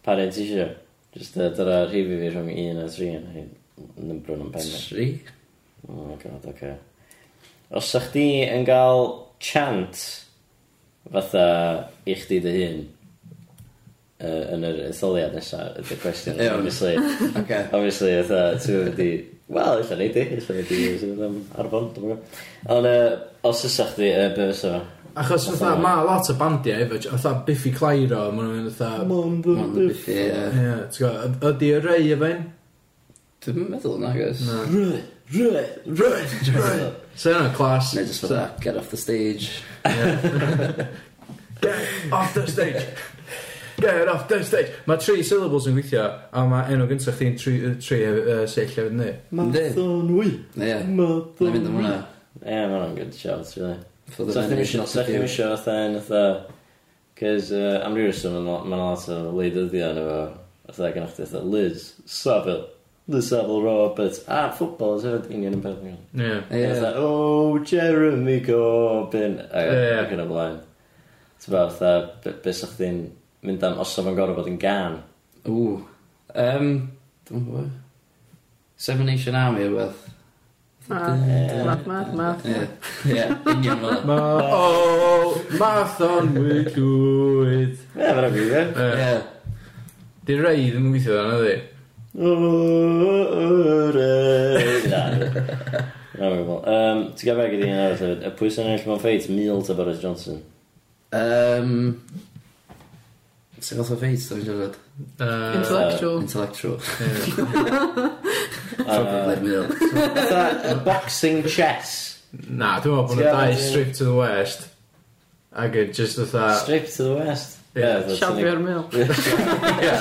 Pa rhaid ti isio? Just uh, dyra rhif i fi rhwng 1 a 3 yn hyn. Nymbrwn yn pen i.
Tri.
Oh my god, oce. Okay. Os ych di yn cael chant fatha i chdi dy hun uh, yn yr etholiad nesaf, ydy'r cwestiwn.
Iawn.
Obviously,
Oce.
obviously, fatha, ti wedi... Wel, eitha neud i, eitha neud i, sydd am arbon, dwi'n gwybod. Ond uh, os ys chdi, uh, be fysa fo?
Achos fatha, mae lot o bandiau efo, j- fatha Biffy Clyro, maen nhw'n fatha...
Ond y byth i...
Ie, ti'n gwybod, ydy y rei efo un?
Dwi'n meddwl yna, gos.
Na.
Rwy, rwy, rwy, rwy.
So yna'n clas.
Neu just fatha, get off the stage.
Get off the stage! Get off the stage! Mae tri syllables yn gweithio, a mae enw gyntaf chdi'n tri, yy, tri uh, seill hefyd ni.
Mathon wy. Ie. Mathon wy. Neu mynd am hwnna.
Ie, yeah, mae'n good shout, really.
For the
Sa'ch ddim
nation
eisiau,
not to
sa'ch ddim
do.
eisiau fatha yn fatha... Cys uh, am rhyw reswm mae'n lot- mae'n lot o leidyddion efo fatha gan o'ch fatha Liz, Saville, Liz Saville Roberts, a ffwbol is hefyd union yn peth ni.
Ie.
Ie,
Ie.
fatha, o, Jeremy Corbyn,
Ie.
ac yn y blaen. Ti'n ba, fatha, be- be sa'ch ddim mynd am os o'n gorfod bod yn gan.
Ww. Um, dwi'n gwybod. Seven Nation Army o beth.
Ah, Math, math, math.
Ie. Ie. Union fel.
Ma, oh, Mathon we do it.
Ie, mae'n rhaid i fi,
Yy,
Ie.
Di rei ddim yn gweithio dan, ydy?
O, o, rei. Na, na, mae'n gwbl. Yym, Ti'n gael bag i di yn arall hefyd. Y pwys yn ennill mewn ffeit, Meal to Boris Johnson.
Um, Sef oedd o ffeit, dwi'n siarad.
Yy,
Intellectual.
Intellectual.
ie.
Probably mil.
Fatha boxing chess.
Na, dwi'n meddwl bod nhw'n dau strip to the west. Ac yn just fatha...
Strip to the west.
Ie.
Siafio'r mil.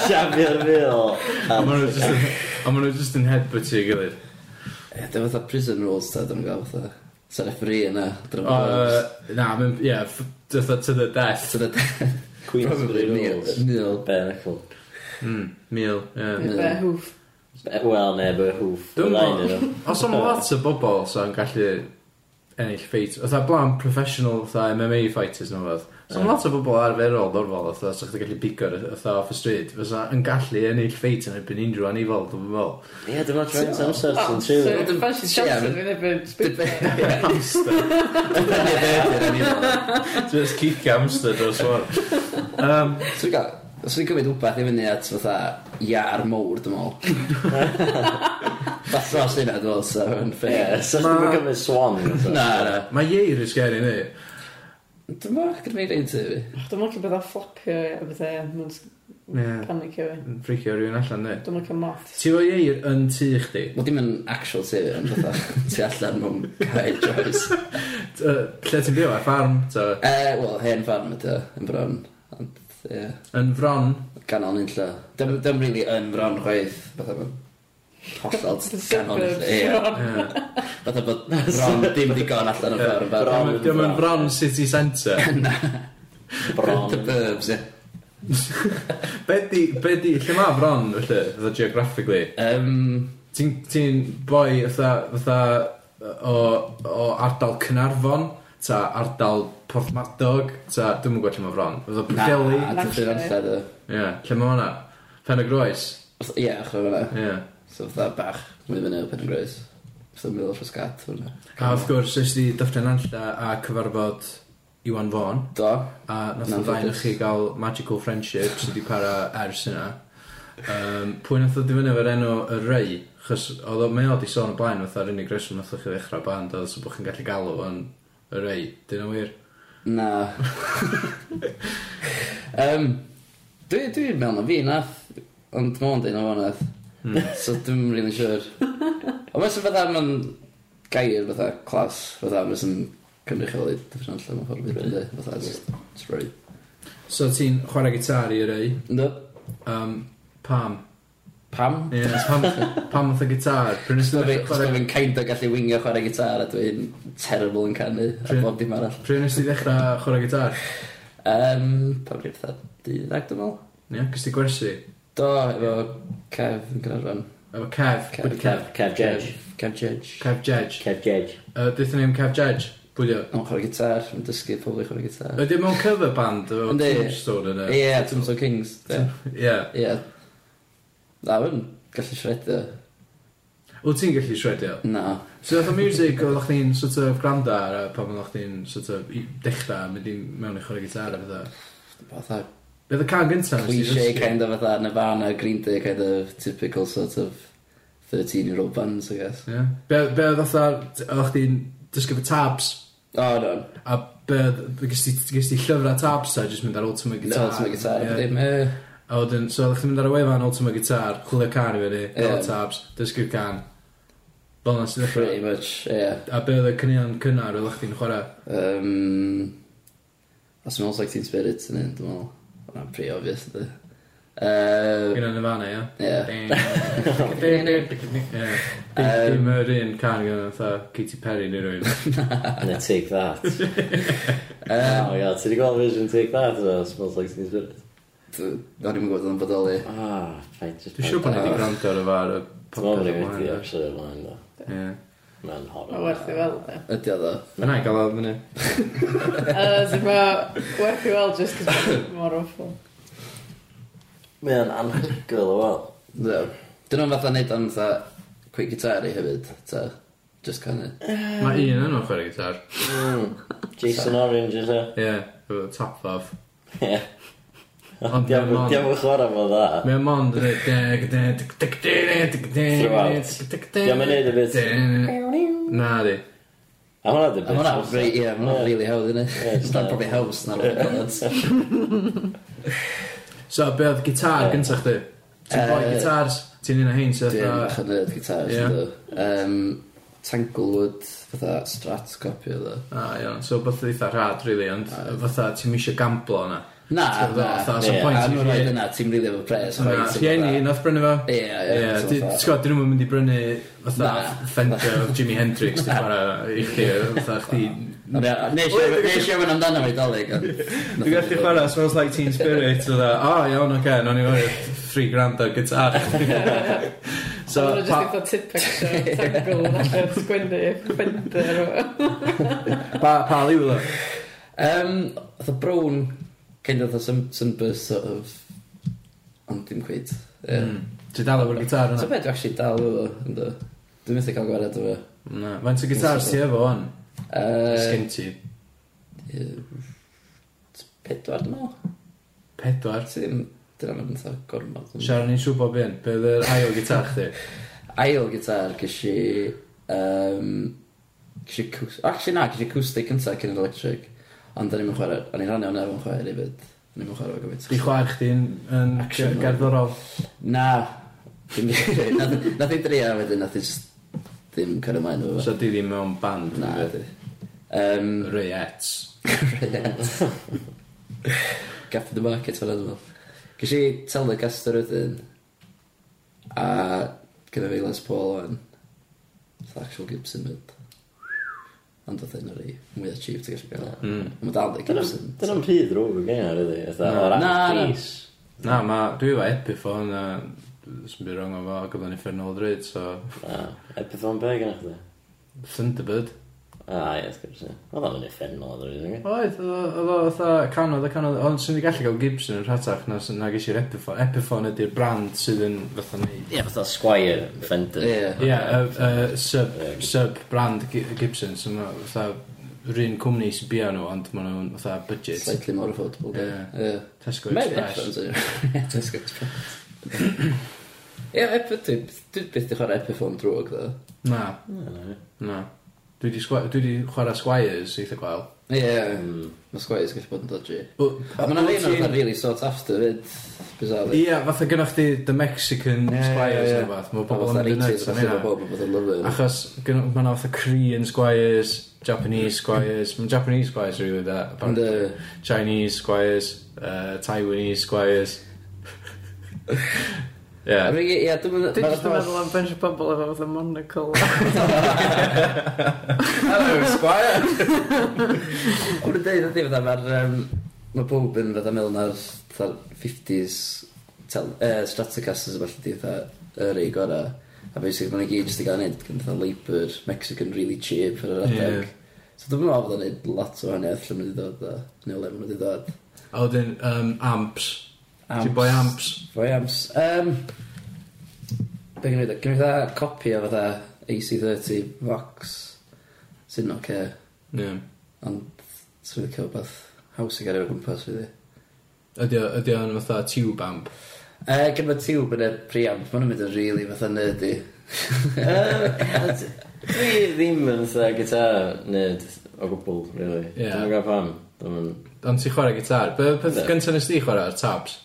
Shafio'r mil.
A maen nhw just yn- a maen nhw just yn headbutio i gilydd.
Dwi'n fatha prison rules, ta, dwi'n gael fatha. Sa'r referee yna. Dwi'n
Uh, na, mae'n, ie, yeah, to the death.
gael. Probably mil. Mil.
Bare knuckle.
Mm, meal, ie.
Ie.
Be, hwff.
Be- Wel, ne, by hwf.
Dwi'n
Nain
meddwl,
ydyn nhw.
os o'n lot o bobl sa'n gallu ennill ffeit, oedd blaen professional fatha MMA fighters nhw oedd, os o'n
Ie.
lot o bobl arferol normal oedd, os o'ch gallu bigo'r oedd off y stryd, fysa yn gallu ennill ffeit yn erbyn unrhyw anifol, dwi'n meddwl.
Ie, dwi'n meddwl trwy'n amser
Oh,
sy'n
so,
trwy.
fancy Johnson, fi neb yn sbwyd.
Just kick hamster dros fawr. Um,
Dwi'n gael. Os ni'n cymryd wbeth i fyny at fatha iar mowr, dwi'n meddwl. Fath dros hynna, dwi'n meddwl, so yn
Ie,
fair.
so dwi'n cymryd swan.
Na, na.
Mae Ieir yn sgeri ni.
Dwi'n meddwl gyda fi rhaid i fi.
Dwi'n mwyn bod o fflopio a bethau, mae'n s-
Ie.
panicio fi.
Yn ffricio rhywun allan ni.
Dwi'n mwyn moth.
Ti fo Ieir yn tŷ chdi?
Wel, dim yn actual tu, ond fatha tu allan mewn cae joes.
T- yy, Lle ti'n byw? Ar ffarm? Ta?
Uh, Wel, hen farm ydy, yn bron. Ond, ie, yeah,
Yn fron?
ganol ni'n lle. Dim, dim really yn bron chwaith, fatha bod hollol ganol ni'n lle. Ie,
Ie.
fatha bod bron dim digon allan o ffordd.
Bron.
Bron.
Diom- Diom yn Bron City Centre.
The
Bron.
burbs, ie.
be di, be di, lle mae Bron felly, fatha geographically?
Um,
Ti'n ti boi fatha, fatha o, o ardal Cynarfon, ta ardal Porthmadog, ta, dwi'm yn gwybod lle mae Bron. Fatha
na,
Pwdeli.
dwi'n ffyr anllad o.
Ie, lle mae hwnna? Pen y groes?
Fatha- Ie, achor hwnna.
Ie.
So fatha bach, mynd fyny o pen yn groes. Fatha middle of a scat hwnna.
A wrth gwrs, ys di dyffryn anlla a cyfarfod Iwan Fawn.
Do.
A nath y
Na'n
ddain
ffodus.
chi gael magical friendship sydd wedi para ers yna. Um, pwy nath o ddifynnu efo'r enw y rei? Chos oedd o mae o di sôn o blaen fatha'r unig reswm nath o'ch chi ddechrau band oedd so bod chi'n gallu galw o'n y rei. Dyn o wir?
Na. um, dwi, dwi'n meddwl na fi nath, ond dwi'n meddwl na fo nath. So dwi'n rili'n siwr. Ond mae'n fatha mae'n gair fatha clas, fatha mae'n sy'n cynrychioli dyffryn allan mewn ffordd byd ydy, e, fatha just, just very...
So ti'n chwarae gitar i y rei?
Ynddo?
Um, pam?
Pam?
Ie, pam, pam oedd y gitar? Pryn nes
Dwi'n
ti
meddwl bod
ddechrau-
fi'n kind o gallu wingio chwarae gitar a dwi'n terrible yn canu a
Pryd-
bob dim arall.
pryd nes ti ddechrau chwarae gitar?
Um, pa bryd fatha, dydd ag dwi'n meddwl?
Ie, cys ti gwersi?
Do, efo Kev yn Gynarfon.
Efo Kev.
Kev.
Pwy 'di Kev?
Kev Jedge.
Kev Judge.
Kev Jedge.
Kev Jedge.
Uh, Dyth ni'n Kev Jedge. Pwy di o?
Yn chwarae gitar, yn dysgu pobl i chwarae gitar.
Ydy mewn cover band o
Yndi.
Tombstone yna?
Ie, Tombstone Kings. de.
e? Ie.
Ie. Na, yn gallu shredio.
Wyt ti'n gallu shredio?
Na.
So oedd o music oedd chdi'n sort of gwrando ar a pan oedd chdi'n sort of i- dechrau mynd i mewn i chwarae gitar a fydda.
Fatha
Bydd y can gyntaf
cliché kind of fatha Nirvana, Green Day kind of typical sort of 13 year old bands, I guess.
Ie. Be be oedd oedd oedd chdi'n dysgu fy tabs
Oh, no.
a be oedd gys ti gys ti llyfrau tabs a jyst mynd ar Ultimate
No,
Guitar.
it's my guitar.
Ie.
Dim, eh.
A wedyn, so oeddech chi'n mynd ar y wefan Ultimate Guitar, chwilio can i fyny, yeah.
Ie.
tabs, dysgu'r can. Fel yna sy'n ddechrau.
Pretty much, ie.
A be oedd y cynnion cynnar oeddech chi'n chwarae?
Um, I smells like Teen Spirit yn un, dwi'n meddwl. Hwna'n pretty obvious, ydy.
Gyda
Uh,
Nirvana, e, ia?
Ie.
Ie. Dim yr un can gyda fatha Katy Perry neu rhywun.
Na, take that. Oh my god, ti wedi gweld vision take that o Smells Like Teen Spirit?
Dwi'n ddim yn gwybod yn bodoli.
Ah, fine, just...
Dwi'n siŵr bod ni wedi gwrando ar y far y
Dwi'n meddwl bod ni
podcast
wedi
ymlaen.
episode o'r blaen, do.
Ie.
Mae'n
Mae'n
horror.
werth i weld, e.
Ydy o ddo.
Mae'n ai gael oedd fyny.
A sy'n ma werth i weld just cos mor awful.
Mae'n anhygoel o wel.
No. Dyn nhw'n fatha neud o'n fatha quick guitar i hefyd, ta. Just canu.
Mae un yn o'n chwarae gitar.
Hmm. Jason Orange, ydw.
Ie. Efo top of.
Ie.
Ond
Diolch
mae
yn chwarae fo dda.
Mae mond yn
Throughout. Diolch yn neud y bit.
Na di.
A hwnna dy
A
bit.
hwnna, rei- ie, hwnna really hawdd yna.
Ie,
It's not probably house, na ro'n bod.
So, be oedd gitar gyntaf chdi? Ti'n boi
Yy,
gitars? Ti'n un o hein sydd
Dwi'n
fatha...
bach yn nerd guitars,
Ie.
ynddo. Um, Tanglewood, fatha strat copi o ddo.
A, iawn. So, beth eitha rhad, really, ond fatha ti'n misio gamblo yna.
Na,
Ti'n
na.
fatha,
Ie,
so
A
pwynt i
nhw'n rhaid
fi.
yna, ti'n rili efo pres.
Na,
rhaid, ti'n
Rhieni,
fatha-
nath brynu fo?
Ie, ie.
Ie,
ti'n
ti- ti'n
fatha-
gwybod, dyn nhw'n mynd i brynu fatha
Na.
Fender o Jimi Hendrix, ti'n chwarae i chdi, fatha chdi...
Ond ie, Nes i- nes i ofyn amdano fe dolyg.
Dwi'n gallu chwarae Smells Like Teen Spirit, o dda, o iawn, oce, okay, no'n i fod 3 grand o gytar.
So,
So,
Mae'n just
pa,
eitha tit picture, tegl, allan sgwennu, ffender o...
pa, pa liw dda?
Um, oedd y brown, kind of the sun, sunburst sort of, ond dim cwyd.
Hmm.
Yeah. Mm.
Ti'n dal efo'r gitar
So
yna?
be dwi'n actually dal efo, ynddo? Dwi'n methu cael gwared efo.
Na, faint o gitars ti efo o'n?
Uh,
Sgyn ti?
pedwar, dwi'n meddwl.
Pedwar.
Si ddim, dyna mae'n dda gormod. ond-
Siarad ni'n siŵr bob un, be oedd yr ail gitar chdi?
Ail gitar, gysi... Um, gysi acous- actually na, gysi acoustic cynta cyn yr electric. Ond dyn ni'n chwarae, o'n i'n rannu o'n efo'n chwarae hefyd. O'n i'n chwarae efo
Di
gyfyd.
chwaer chdi'n yn
Action, no.
gerddorol.
Na, dim byd. Nath- nath i'n drio wedyn, nath i'n jyst ddim cael ymlaen efo. fo.
So di ddim mewn band.
Na,
neu
ydy. Um,
Ryettes.
Gaff the market fan as well. Ges i Telecaster ydyn. A gyda fi Les Paul o'n. It's actual Gibson mid. Ond oedd hyn o'r ei mwy achieved i gallu gael. Mm. Mae dal y Gibson.
Dyna'n pryd rhwg o gen i, ydy.
Na.
Na,
O'r
na.
antis.
Na, ma, dwi efo Epiphone a sy'n byd rong o fo, gyda'n Infernal Dread, so
Epithon be gen i chdi?
Thunderbird.
O, Ah, ie, wrth gwrs, ie. Oedd o'n effennol, oedd o'n rhaid.
Oedd, oedd o fatha canodd a canodd, ond swn i'n gallu gael Gibson yn rhatach na, na gysir Epiphone. Epiphone ydy'r brand sydd yn fatha neud.
Ie, fatha Squire Fender.
Ie.
Ie, y- y sub, sub brand Gibson, so ma fatha rhywun cwmni sy'n bia nhw, ond ma nhw'n fatha budget.
Slightly more affordable.
Ie.
Ie.
Tesco
Mae'n
Express.
headphones yn Tesco Express. Ie, Epiphone, dwi byth di chwarae Epiphone drwg ddo.
Na,
Ie.
na. Dwi di, sgwa- dwi di chwarae Squires eitha gwael.
Ie, mae Squires gallu bod yn dodgy.
W-
A mae'n rhaid
wyt
yn
ti'n-
o'r really sought after fyd, bizarrely.
Ie, fatha gynnwch chi The Mexican Squires neu beth. Mae pobl yn mynd yn nuts am hynna.
Mae pobl yn lyfio.
Achos gyn- ma' na fatha Korean squires, Japanese squires, mae Japanese squires are really that.
Ynddy.
Chinese squires, uh, Taiwanese squires.
A
yeah.
mi, ie, dwi'n
Dwi'n just yn meddwl am bunch o bobl efo fatha monocle.
Hello, squire!
Ond yn dweud ydy, fatha, mae'r... Um, mae pob yn fatha mewn ar fatha 50s tel, uh, Stratocasters a falle di fatha yr ei gorau. A basically, mae'n gyd jyst i gael neud gan fatha labour, Mexican really cheap ar yr adeg.
Ie.
So dwi'n meddwl bod o'n neud lot o hynny allan mae'n dod o, neu le mae'n dod o.
A wedyn, um, amps. Ti'n boi amps?
Boi amps. Um, Be gynnu da? Gynnu da copi o fatha AC30 Vox sy'n oce.
Yeah.
Ond sy'n wedi cael beth haws i gael efo gwmpas fydd i.
Ydy o- ydy o'n fatha tube amp.
Uh, Gan bod tiwb yn y priamp, ma'n mynd yn rili fatha nerdy.
Dwi ddim yn fatha guitar nerd o gwbl, really.
Ie.
Dwi'n gwybod pam. Dwi'n...
Ond ti'n chwarae gitar. Be peth
Ynddy.
gyntaf nes di chwarae ar tabs?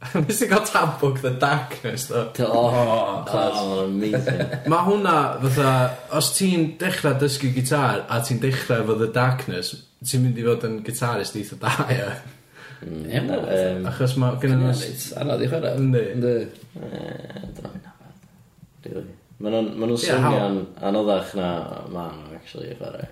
Nes ti gael tab book the darkness, do?
Oh, oh, amazing.
Mae hwnna fatha, os ti'n dechrau dysgu gitar a ti'n dechrau efo The Darkness, ti'n mynd i fod yn gitarist eitha da, ie.
Ie, na,
Yym,
Achos mae gen nhw...
Anodd i chwarae.
Yndi.
Yy, dyn nhw'n nabod. Really. Ma' nhw'n ma' nhw'n
Ie, how-
swnio'n anoddach na ma' nhw, actually, i chwarae.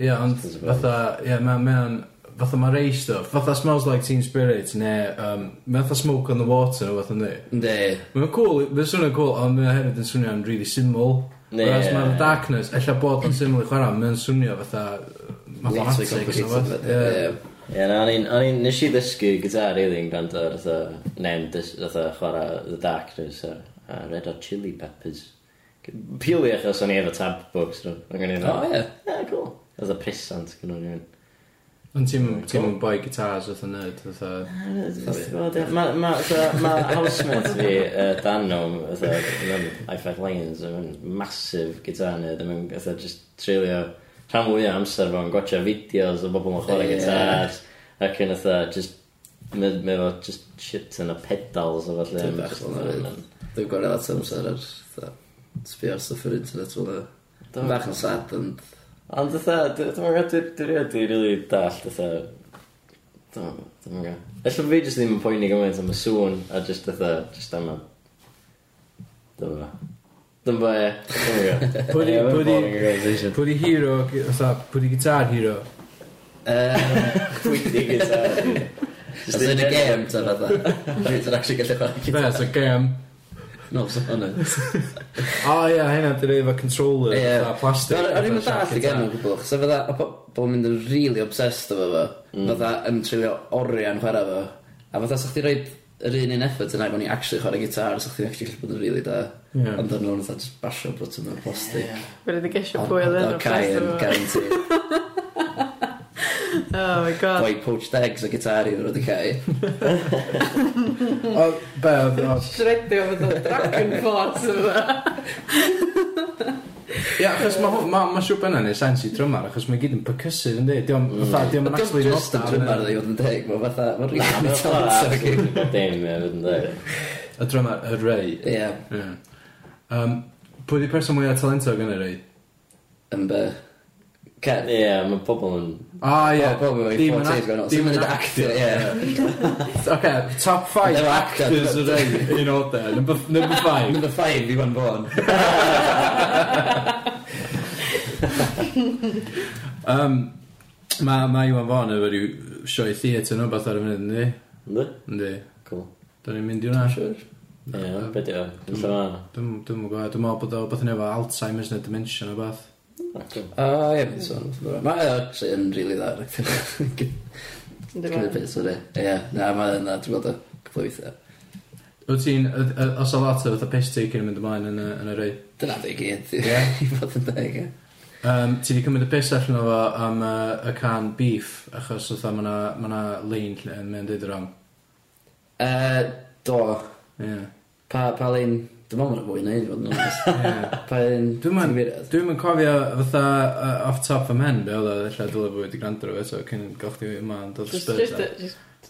Ie, ond fatha, ie, mae'n... Ma fatha mae rei stuff, fatha Smells Like Teen Spirit, neu um, mae fatha Smoke on the Water, neu fatha ni.
Yndi.
Mae'n cool, mae'n swnio'n cool, ond mae hefyd yn swnio'n really syml.
Ne.
Whereas mae The Darkness, ella bod yn syml i chwarae, mae'n swnio fatha... Mathematics,
Ie,
neu beth. Ie.
Ie.
Ie, na, o'n i'n- o'n i'n... Nes i ddysgu gyda rili yn gwrando ar fatha... Nen, dys- fatha chwarae The Darkness a, a Red Hot Chili Peppers. Pili achos o'n i efo tab books nhw. O'n i'n
O, ie.
Ie, cool. Oedd y prisant gyda nhw'n i'n...
Ond ti'n ti'n boi gitars, fatha nerd, fatha...
Mae ma, fatha- ma housemate fi, uh, Dan nhw'n i5 Lions, yn massive guitar nerd, yn fatha just treulio rhan fwy o amser fo'n gwatcha fideos o bobl yn chwarae
Ie.
gitars, ac yn fatha just, mae ma fo just shit yn y pedals o falle.
Dwi'n bach yn rhaid. Dwi'n gwario lot o amser ar fatha, sbio ar stuff ar internet fel yna.
Do.
Dwi'n bach yn sad ond...
Ond fatha, d- dwi'n meddwl, dwi- dwi rioed i rili dallt, fatha, dwi'n dwi'n meddwl. Ella fi jyst ddim yn poeni gymaint am y sŵn, a jyst fatha, jyst am y... Dwi'n meddwl. Dwi'n meddwl, dwi'n meddwl.
Pwy 'di-
Ie, mae'n
pwy 'di-
boring organisation.
Pwy di hero, fatha, pwy di guitar hero?
Pwy di gyda?
uh, Just in y game, ta fatha. Dwi'n actually gallu chwarae
Be, so gem.
No, so hwnna.
O ie, hynna di efo controller,
Ie.
fatha plastic.
O'n i'n mynd
fatha
all
siarad
i gen o gwbl, chos fydda, o bobl mynd yn really obsessed efo fo, fydda yn trilio orian chwarae fo, a fydda sa'ch ti roed yr un un effort yna, o'n i actually chwarae gitar, sa'ch ti'n actually gallu bod yn really da,
Ie.
ond o'n nhw'n fatha just basio brot yn y plastic.
Fe wedi gesio
Ond-
pwy oedd
ond
yn
o Cai yn
obsessed
guarantee.
efo. Oh my god.
Boi poached eggs o gitar i fod y Cai.
guitar. O, be, oedd o.
Shredio fatha Dragon Force efo.
Ie, achos ma' hwn- ma' ma' siwr benna neu sens i drymar, achos mae gyd yn percussive, yndi? Diom, fatha, diom yn
Ond
actually
dim just yn
nodda,
drymar
yndi?
ddi fod yn deg, mae'n fatha, mae'n rili
Dwi'n
talented o gig.
meddwl. Dim, ie, fydd yn dweud.
Y drymar, y rei.
Ie,
Ie. Yym, Pwy di person mwyaf talentog yn y rei?
yn be. Cer.
Ie, mae pobl yn...
O ie.
Dim
Dim
yn
yn act-
actor.
dim
Dim
yn
yn
actor,
actor, ie.
Oce, top 5
They're
actors y
actors.
rei in order. Number 5.
Number 5, Iwan Bourne.
Um, mae ma Iwan Fawn efo rhyw sioe theatr nhw beth ar y funud, yndi?
Ynddi?
Yndi.
Cool.
Do'n i'n mynd i hwnna?
Ie, beth yw? Dwi'n meddwl.
Dwi'n dwi'n gwybod, dwi'n meddwl bod o beth yn efo Alzheimer's neu dementia neu beth.
O, Oh, ie, mae'n sôn. Mae o actually yn rili dda. actually. Cymryd beth, sori. Ie, na, mae yna, dwi'n gweld o. Cyflwythio.
Wyt ti'n, y- y- os o lot o fatha piss taking yn mynd ymlaen yn y, yn y rei?
Dyna fe i gyd.
Ie.
I fod yn deg, ie.
Um, ti wedi cymryd y piss allan o fo am uh, y can beef, achos oedd ma na, ma na lein lle yn mynd i'r wrong.
Yy, Do,
Yeah.
pa, pa lein... Dwi'n meddwl mae'n fwy neud, fod yn oes.
Yeah.
Pa lein...
Dwi'n meddwl-
ti'n gymryd?
Dwi'n mynd cofio fatha uh, off top fy mhen be oedd o, lle dyle fwy wedi gwrando ar o eto, cyn gael chdi yma yn dod o
Just,
spurs.
just,
a-
just,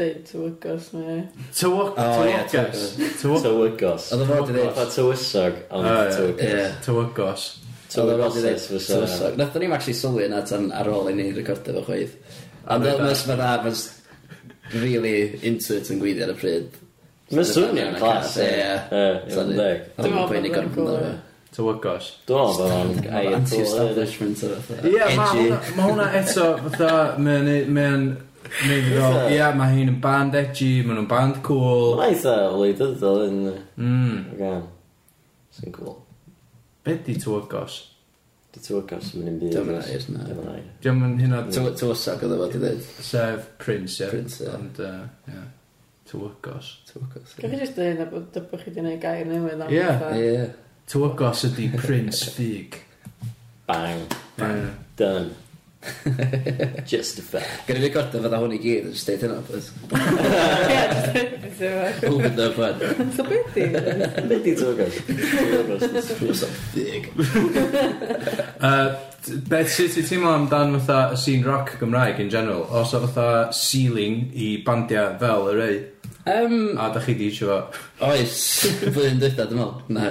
deud tywygos neu...
Tywo-
Oh, ie,
Tywogos. Tywo-
Tywygos.
Oedd o fod i ddeud-
Fatha tywysog, ond
O, ie.
tywygos.
Ie.
Tywogos.
So oedd o'n dweud
fysa-
tywysog. Nath o'n i'n actually sylwi yna tan ar ôl i ni recordio fo chweith. Ond
Ond
oedd
oedd-
nes ma dda, mae'n really into it yn gweithio ar y pryd.
Mae'n swnio'n clas,
Ie,
ie.
ie.
Ie, ie,
Sori.
mae'n deg.
Ond mae'n poeni
Dwi'n meddwl
gorfod
bod o'n
amdano
cool,
fe.
Tywogos.
Dwi'n meddwl bod o'n air
Anti-establishment o fath.
Ie, yeah, mae hwnna, ma hwnna eto fatha, mae'n mae'n neud i ddol,
Fatha-
ie, mae hyn yn band edgy, maen nhw'n band cool.
Mae'n eitha wleidyddol yn y
Mm.
gan. Sy'n cool.
Be di tywogos?
Dy tywygos yn mynd i'n byd.
Dim yn air, na.
Dim yn air.
Diolch yn hyn o
Tywysog oedd o fod i ddweud.
sef Prince, ie.
Prince, ie.
Ond, yy, ie, tywogos.
Tywysog.
Gaf i just dweud na bod dy bod chi wedi gwneud gair newydd am
Ie.
fatha.
Ie.
Tywogos ydi Prince Fig.
Bang.
Ie.
Done. Justified.
Gwneud fi gorda fydda hwn i gyd, just deud hynna, please.
Ie, just deud beth sy'n fach.
Over the fun.
So beth di?
Be di tywygos? Tywygos.
Dig.
Yy, t- Beth sy'n ti teimlo amdan fatha y scene rock Gymraeg in general? Os o fatha ceiling i bandiau fel y rei?
Um,
A da chi di eisiau fo?
oes, blwyddyn dwytha, dwi'n meddwl. Na.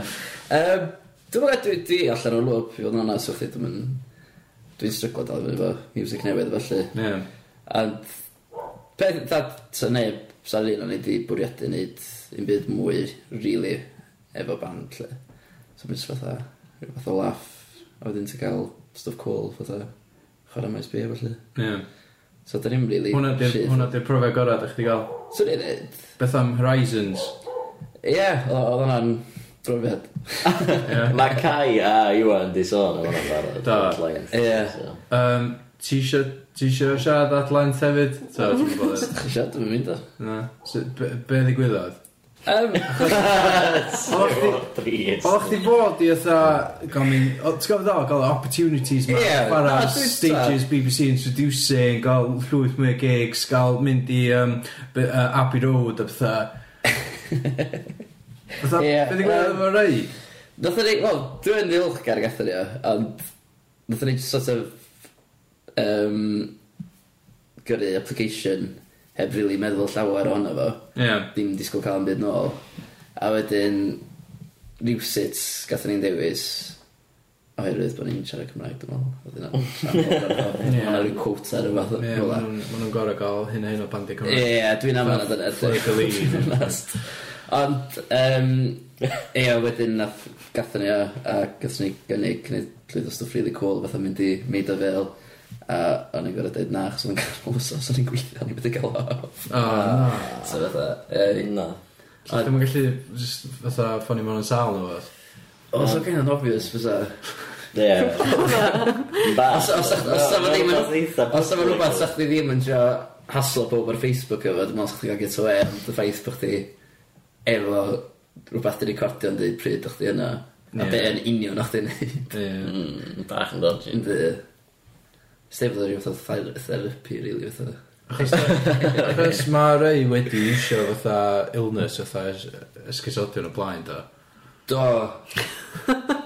Um, dwi'n meddwl dwi, dwi allan o'r lwp, i fod yn onas, wrth i dwi'n mynd... Dwi'n stryglo dal i fynd efo music newydd, felly.
Ie.
And peth that sa neb sa un o'n i di bwriadu wneud un byd mwy really efo band lle. So mae'n fatha, rhyw fath o laff a wedyn ti cael stuff cool fatha chwarae maes bi efo lle.
Ie.
So da ni'n really
Hwna di'r
shit.
hwnna 'di'r profiad gorau da chdi gael.
So ni'n dweud,
Beth am Horizons?
ie, o- oedd hwnna'n brofiad.
Ie.
Mae Kai a Iwan di sôn am hwnna'n barod.
Da.
Length,
Ie.
so.
Um, ti isio ti isio siarad at length hefyd? Ta, ti'n gwybod?
Ti'n siarad, dwi'n mynd o.
Na. So, be, be ddigwyddodd?
Um,
Oeddech
Please.
chdi bod i otha, gael mi, o, ti'n gofod o, gael opportunities ma,
Ie,
para
na, dwi'n
stages BBC introducing, gael llwyth mwy o gigs, gael mynd i um, be- uh, Abbey Road a betha. Fytha,
Ie,
beth i gwneud
yym,
efo rei?
Nath ni, wel, dwi'n ddiolchgar gatho ni o, ond nath ni just sort of um, gyrru application heb really meddwl llawer ohono fo.
Ie,
Dim disgwyl cael yn byd nôl. A wedyn, rhywsit gatho ni'n dewis oherwydd bod ni'n siarad Cymraeg, dwi'n meddwl. Oedd hynna.
Ie.
Mae yna rhyw quota rhyw fath
Ie,
o
ma'
rhywle.
nhw'n ma' nhw'n gorau gael hyn a hyn o bandi Cymru.
Ie, dwi'n am hynna dyna.
Play the lead.
Last. Ond, um, ia, wedyn nath gathon ni o, a gathon ni gynnig gwneud llwyd o stwff really cool, fatha mynd i Maid o Fel, a o'n i'n gorau dweud na, chos o'n gael wsos, o'n i'n gweithio, o'n i'n bydd i gael off.
O, na.
So fatha, ei.
Na.
So Dwi'n gallu just fatha ffoni mewn yn sal nhw fath.
O, so gen yn obvious, fysa.
Ie.
Os- os- os- os- os- ddim yn- Os yma rhywbeth, sa'ch chi ddim yn trio haslo pob ar Facebook efo, dwi'n meddwl sa'ch chi gael get away, ond y ffaith bod chdi efo rhywbeth di recordio yn dweud pryd o'ch di yna, a
Ie.
be yn union o'ch di'n neud.
Ie.
Mm, Bach yn dodgy.
Ynddi. Stefod oedd rhywbeth o ther- therapy, really, oedd o.
Achos achos mae rei wedi isio fatha illness fatha es- esgusodion o blaen da.
Do.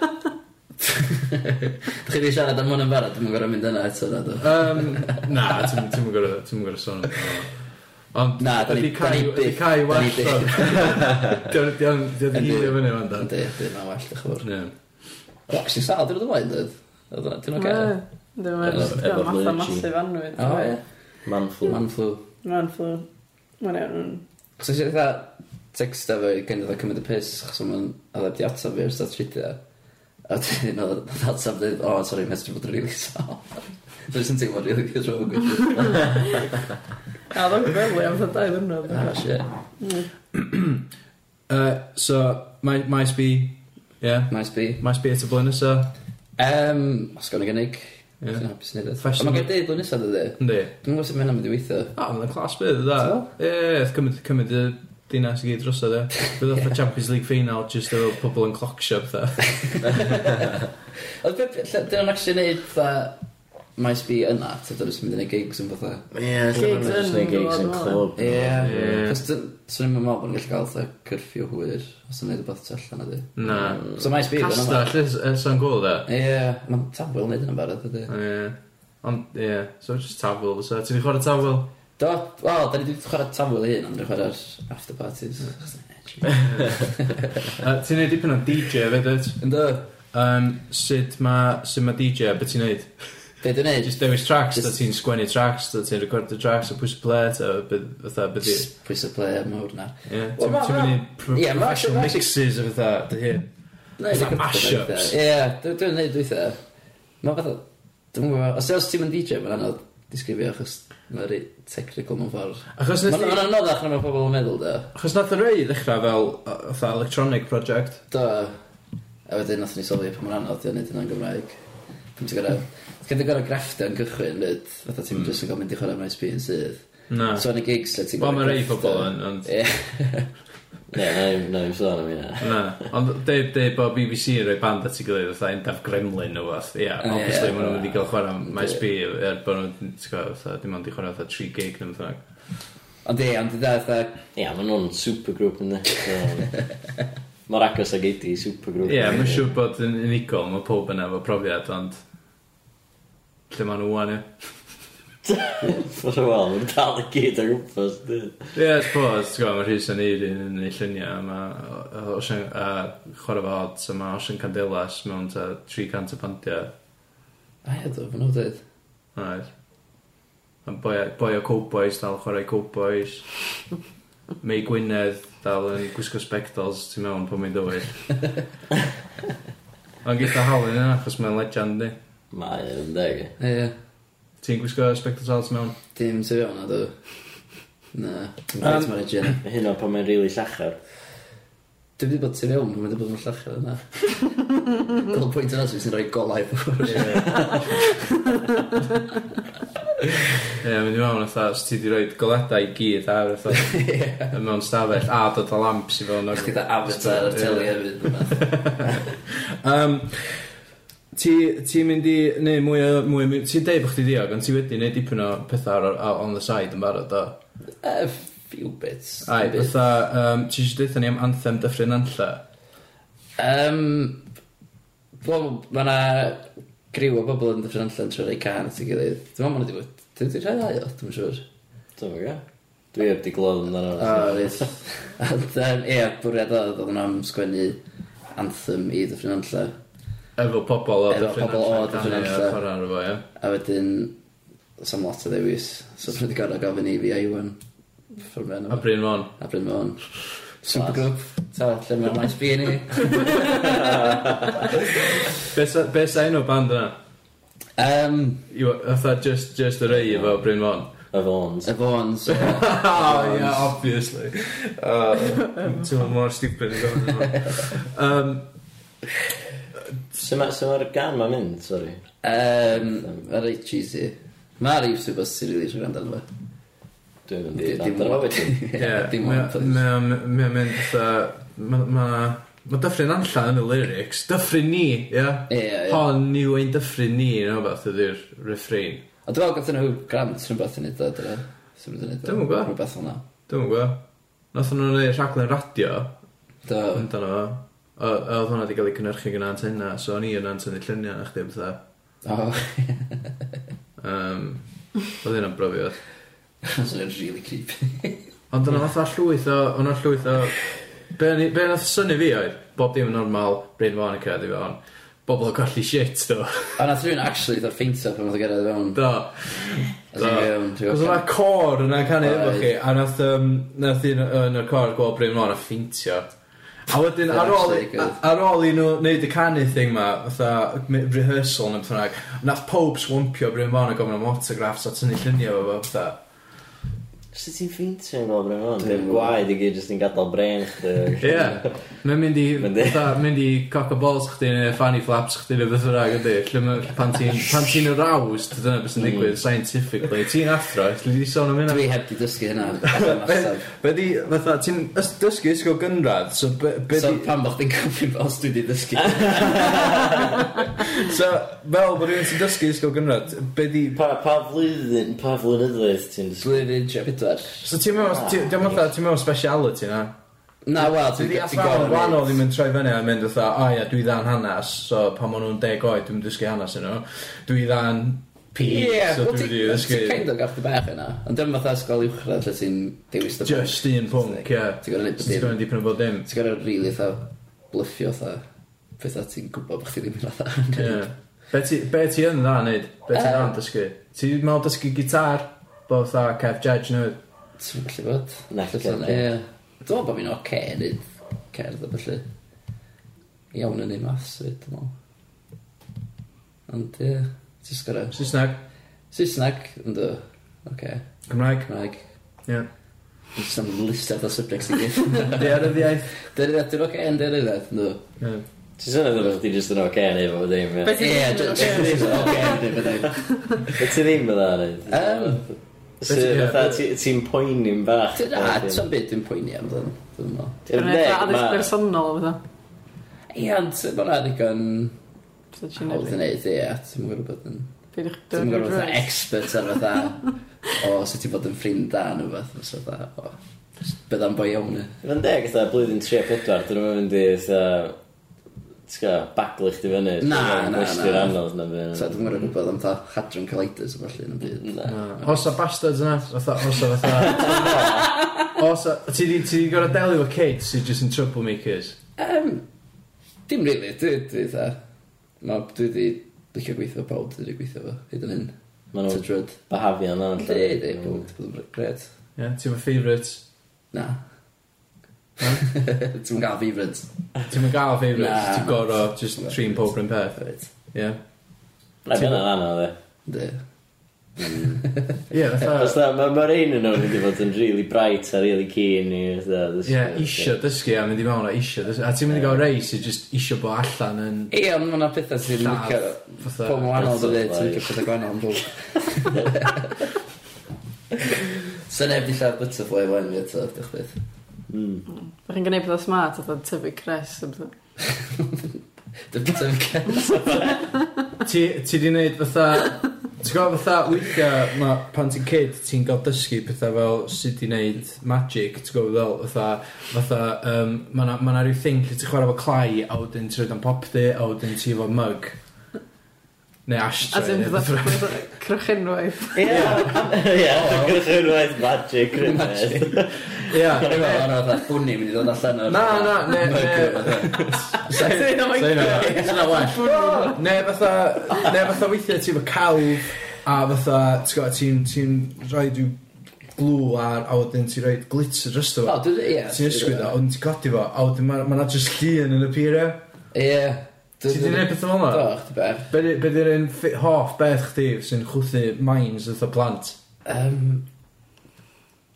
Dach chi wedi siarad am hwn yn barod, dwi'n gorau mynd yna eto, na, do.
Um, na, ti'n ti'n mwyn gorau ti'n mwyn gorau sôn am hynna. Ond
Na, da ni-
ydi
da
Cai-
ni byth-
ydi Cai
da ni
well
byth.
o'n. Dio'n dio'n dio'n
Yndi.
hilio fyny o'n dan.
Ynddi, ynddi, mae'n well, dych chi'n
Ie.
Oedd actually sal, dwi'n rhywbeth ymlaen, dweud. Oedd hwnna, dwi'n oce.
Dwi'n meddwl,
Efo-
dwi'n
efo
matha
lurgy.
masif anwyd.
O, ie.
Man flu.
Man flu.
Mae'n fflw. Mae'n iawn.
So eisiau eitha texta fo i gynnydd o cymryd y piss, chos o'n oedd wedi atab fi ar stat rhywbeth. A dwi'n oedd oedd atab dweud, o, sori, mae'n stryfod yn rili sal. Dwi'n sy'n teimlo'n rili gysrwg.
A ddod gwely am fatha dau ddwrnod.
Ah, shit.
Yy, So, mae- maes B, ie.
Maes B.
Maes B at y blynysau.
Um, os gawn ni gynnig.
Ie.
Yeah. Dwi'n hapus i wneud it.
Fashion-
Ond Mae gen i deud blwyddyn nesaf ydy.
Yndi.
Dwi'n gwybod sut mae'n mynd i weithio.
A, mae'n clas bydd, da.
Ti'n
Ie, ie, ie, cymryd, cymryd y dinas i gyd drosodd, e. Bydd o'r Champions League final, just efo pobl yn clocsio, bydda.
Oedd beth, dyn nhw'n actually neud dda maes bi yna, ta dyn nhw'n mynd i neud gigs yn fatha.
Ie,
Gigs
lle mae'n just
yn-
neud gigs yn
wel,
clwb.
Ie.
Ie.
Cos dyn nhw'n meddwl bod nhw'n gallu cael dda cyrffio hwyr os yn neud y beth tu allan ydy.
Na.
So maes bi yna.
Casta, lle sy'n gol, da?
Ie, mae'n tafwyl neud yna'n barod ydy.
Ie. Ond, ie, so just tafwyl, fysa. Ti'n chwarae tafwyl?
Do, wel, da ni wedi chwarae tafwyl hyn, ond dwi'n chwarae'r after parties.
Yy, Ti'n neud dipyn o DJ, fedyd?
Ynddo,
Um, sut ma, sut ma DJ, beth ti'n neud?
be dwi'n neud?
Just dewis tracks, da
Just-
ti'n sgwennu tracks, da ti'n recordio tracks, a pwys y play, ta, beth, fatha, beth i.
Just pwys y play am hwr na.
Ie,
Wel,
ti'n
ma-
ti'n
ma-
mynd i pro-
Ie, ma'
professional
actually-
mixes o fatha, dy hyn. Fatha mashups.
Ie, dwi- dwi'n neud dweitha. Mae fatha, dwi'n gwybod, os os ti'n mynd DJ, mae'n anodd disgrifio achos mae'n rei technical mewn ffordd.
Achos
Mae'n
nes
mae'n
ti...
anoddach na mae pobl yn meddwl, do.
Achos nath y rei ddechrau fel, uh, fatha, electronic project.
Do. A wedyn nath ni sylwi pa mae'n anodd i neud hynna'n Gymraeg. Pam ti'n gorau... Ti'n gorau gorau grafftio yn gychwyn, dyd. Fatha
Hmm.
ti'n just yn gorau mynd i chwarae mewn SP yn sydd.
Na.
So yn y gigs le ti'n
Ah. Wel, mae
gorfod
rei
grafftio.
pobl yn, ond...
Ie.
Ie, na i'm- na i'n sôn am hynna.
Na, ond deud de, bod BBC yn rhoi band at i gilydd fatha Endaf Gremlin o fath, ia,
Ie.
obviously maen nhw'n wedi cael chwarae Maes B er bod nhw'n, ti'n gwybod, fatha, dim ond i chwarae fatha 3 gig neu fatha.
Ond ie, ond i dda, fatha...
Ie, maen nhw'n supergroup yn dweud. Mae'r agos ag eiti supergroup.
Ie, yeah, mae'n siŵr bod yn unigol, mae pob yna efo profiad, ond lle maen nhw wan, ie.
Fos o wel, mae'n dal y gyd ar gwmpas.
Ie, I suppose, ti'n gwybod, mae Rhys yn eir yn ei lluniau, mae Ocean, a chwarae fo odds, a mae Ocean Candelas mewn ta 300 o bandiau.
A ie, do, fan nhw'n dweud.
Oes. Yn boi, boi o Cowboys dal chwarae Cowboys. Mei Gwynedd dal yn gwisgo spectacles ti'n mewn pan mae'n dywyd. Ond gyda Halen yna, achos mae'n legend ni.
Mae yn deg. ie.
Ie.
Ti'n gwisgo spectacles ti'n mewn?
Dim sy'n fiawn na, do. Na. Dwi'n gwneud ma'n egin.
Mae hyn o pan mae'n rili llachar.
Dwi wedi bod ti'n iawn, mae'n bod yn llachar yna. Gol pwynt yna sy'n rhoi golau ffwr.
Ie, yeah, mynd i mewn fatha, os ti di rhoi goledau i gyd ar fatha, yn mewn stafell, a dod o lamps i fewn.
Chdi da avatar ar teli hefyd. rwbeth.
Um, ti, ti'n mynd i, neu mwy o, mwy, mwy ti'n deud bod chdi diog, ond ti wedi neud dipyn o pethau ar, ar, on the side yn barod o.
A few bits.
Ai,
Few bits.
fatha, um, ti eisiau deitha ni am Anthem Dyffryn Anlla?
Yym... Wel, mae yna griw o bobl yn dyffryn allan trwy'r ei can at ei gilydd. Dwi'n meddwl ma'n wedi bod... Dwi wedi rhai ddau o, dwi'n siŵr.
Dwi'n fawr Dwi heb di glod yn
O, reit. Ond, yym, ie, bwriad oedd oedd yn am sgwennu anthem i dyffryn allan.
Efo pobl o
Efo
Dyffryn
pobl o Dyffryn Anlla.
Dyffryn Anlla.
A wedyn, sam lot o ddewis. So dwi'n wedi gorau gofyn i fi a Iwan. Ffyrmio
A
yna.
Bryn Mon.
A Bryn Môn. Supergroup. Ta, lle mae'n maes bi ni.
Be sa be sa enw band yna?
Um,
Yw- Fatha just, just y rei efo Bryn Mon.
Y fawns.
y Fawns. ie.
Oh, yeah, obviously. Uh, Ti'n mynd mor stupid yn gofyn yma. Um,
Sut mae'r gan mae'n mynd, sori?
Yym, Mae'n reit cheesy. Mae'r Iws yw bos sy'n rili siarad amdano fe.
Dwi'n mynd i
Di- Dim
ddandro
ond.
wedyn.
Ie,
yeah,
Dim
mae-
ond. please.
mae o'n mae o'n mynd fatha... ma- ma- Mae Dyffryn Anlla yn y lyrics. Dyffryn ni, ie?
Ie, ie.
Hon yw ein dyffryn ni, yn o'r beth ydy'r refrain.
A dwi'n meddwl gath nhw grant rhywbeth yn edo, dyna. Dwi'n
Dwi'm yn gwbo.
Rhywbeth hwnna.
Dwi'n gwybod. Nath nhw'n gwneud rhaglen radio
Do.
amdano fo. O- a Oedd hwnna wedi cael ei cynnyrchu gyda antenna, so o'n i yn antenna lluniau na chdi bethau.
O,
Um, oedd hynna'n brofiad.
Swnio'n really creepy.
Ond yna fatha llwyth o, yna llwyth o... Be, o'n i- be nath syni fi oedd, bob dim yn normal, Bryn Fawn yn creddu fe on. Bobl yn colli shit, do.
A nath rhywun actually dda'r ffeinto pan oedd y gyrraedd fewn.
Do.
As in, um,
Do.
fewn,
Cos
rhywbeth.
yna cor yna canu efo
Oedd.
chi, a nath, um, nath un yn y cor gweld Bryn Fawn a ffintio. A wedyn
That's
ar ôl,
really good.
ar ôl i nhw wneud y canu thing ma, fatha m- rehearsal neu beth bynnag, nath pob swampio Bryn Fawn a gofyn am autograffs a tynnu lluniau fo fo, fatha.
Sut ti'n ffeintio'n fel bryd o'n? Dwi'n
Dwi'm-
gwaed i gyd jyst yn gadael bren chdi.
Ie. Mae'n mynd i,
Yndi.
fatha, mynd i cock a balls chdi neu fanny flaps chdi neu beth yna, ydy. Lle ma- Pan ti'n pan ti'n aroused, dyna beth sy'n digwydd scientifically. Ti'n athro, lle di sôn am hynna?
Dwi heb di dysgu hynna. fatha masaf.
Be di, fatha, ti'n ys- dysgu ysgol gynradd, so be, be
So
di...
pan bo chdi'n cofio os dwi di dysgu.
So, fel bod rhywun sy'n dysgu ysgol gynradd, be di...
Pa, pa flwyddyn, pa flwynyddwydd ti'n dysgu?
Blwyddyn trio pedwar.
So ti'n meddwl, ti- ti'n meddwl, fatha- ti'n meddwl speciality na?
Na, wel,
Ti
dwi'n
di
gofio.
athrawon gwahanol ddim yn troi fyny a mynd fatha, o ia, dwi dda'n hanas, so pan maen nhw'n deg oed, dwi'n dysgu hanas yn nhw. Dwi dda'n pi, so
wel,
dwi wedi
ti-
dysgu
Ti'n kind of gaff dy bach yna. Ond dyma fatha ysgol uwchradd lle ti'n dewis dy bach.
just un pwnc, ie.
Ti'n gorau neud
Ti'n
dim.
gwneud dipyn o bod dim.
Ti'n gorau rili tha bluffio tha pethau ti'n gwybod bod chdi ddim yn fatha.
Ie. Be ti be ti yn dda neud? Be ti
Yy.
dda'n dysgu? Ti'n meddwl dysgu gitar? Bo fatha Kev Judge newydd?
Ti'n gallu bod?
Na,
Llyson,
ocê.
ie. Dwi'n meddwl bod fi'n oce nid cerdd o felly. Iawn yn ei maths fyd, dwi'n meddwl. Ond ie, ti'n gorau.
Saesneg?
Saesneg, ynddo. Oce,
Cymraeg?
Cymraeg.
Ie.
Just am listad o subjects i gyd.
Diardd iaith?
Dyryddiad, dwi'n oce yn dyryddiad, ynddo.
Ie.
Ti'n sôn oedd chdi jyst yn oce neu fo ddim, ie.
Beth-
Ie, dwi'n oce.
Be ti ddim yn dda
Yym.
neud?
Be ti-
Sut fatha ti- ti'n poeni'n bach?
Dwi'n na, dwi'n byd dwi'n poeni am ddyn. Dwi'n mo.
Yn
Dyna
deg,
fatha addysg
ma-
bersonol, fatha.
Ie, ond mae hwnna ddigon
So ti'n
hawdd
neud
yn neud, ie. Ti'n gwybod bod yn...
Peidiwch
Ti'n
dod
gwybod
i'r
bod yn
dress.
expert ar fatha... O, sut ti'n bod yn ffrind da neu beth. Os fatha, o, bydda'n boi iawn ni.
Yn deg, eitha, blwyddyn 3-4, dyn nhw'n mynd i, eitha, ti'n gael, baglich di fyny.
Na,
Dwi'n
na,
gwestiwn
na.
anodd na fyny.
So, dwi'n gwybod bod am ta hadron colitis o felly yn y byd.
Na.
Na. Hosa bastards yna, fatha, hosa fatha. Hosa, ti di, ti di gorau delio efo kids sy'n just yn troublemakers.
Um, dim rili, dwi dwi dda. Ma, dwi di licio gweithio efo pawb, dwi di gweithio fo, hyd yn hyn.
Ma' nhw'n
Ti'n drwyd.
Bahafio na.
Dwi, dwi, pawb, dwi bod yn gred.
Ie, ti'n fy favourites.
Na. Ti'n gael fi bryd.
Ti'n mynd gael favourites,
Na.
ti'n gorau just trin pob rhan peth.
Rhaid.
Ie.
Na,
Ti'n-
fyna na na, dde.
Dwi.
Ie,
Os
fatha,
da, mae'r un yn o'n mynd i fod yn really bright a really keen i, eitha, ddysgu.
ie, isio dysgu a mynd i mewn a isio dysgu. A ti'n mynd i gael rei sy'n just isio bo allan yn...
Ie, ond mae'na pethau sy'n
Lladd,
licio...
fatha-
Pobl wahanol
Bethau
dwi'n dweud, sy'n
fel-
licio pethau gwahanol yn bwg. So neb di lladd butterfly wain fi eto, diolch beth.
Mm.
Dach chi'n gwneud pethau smart, fatha tyfu cres. a petha.
Dy butterfly cats.
Ti, ti di wneud fatha... Ti'n gwybod fatha weithiau ma, pan ti'n kid, ti'n gael dysgu pethau fel sut i wneud magic, ti'n gwybod fel fatha, fatha, um, ma na, ma na rhyw thing lle ti'n chwarae efo clai a wedyn ti'n rhaid am pop di a wedyn ti efo mug. Neu
A
ashtray.
ti'n
neu
fatha
beth bynnag.
fatha crochenwaith.
Ie, ie,
Oh.
gyrchwyrwaith magic, rhywbeth.
Dwi'n
Ie.
meddwl, ond oedd hwnni mynd i ddod allan o'r...
Na, na, ne, ne,
Dwi'n
Say no.
meddwl,
Dwi'n meddwl,
Ne fatha, ne fatha weithiau ti efo cawf a fatha, ti'n gwybod, ti'n ti rhoi rhyw glw ar a wedyn ti'n rhoi glitzer drysto fo.
O, dwi- ie.
Ti'n ysgwyd o, ond ti'n codi fo, a wedyn ma- ma' na jyst llun yn y pyre.
Ie.
Ti di gwneud pethau fel
Do,
yna?
chdi bach.
Be di- Be di'r un ffi- hoff beth chdi sy'n chwthu mines oedd y plant?
Um,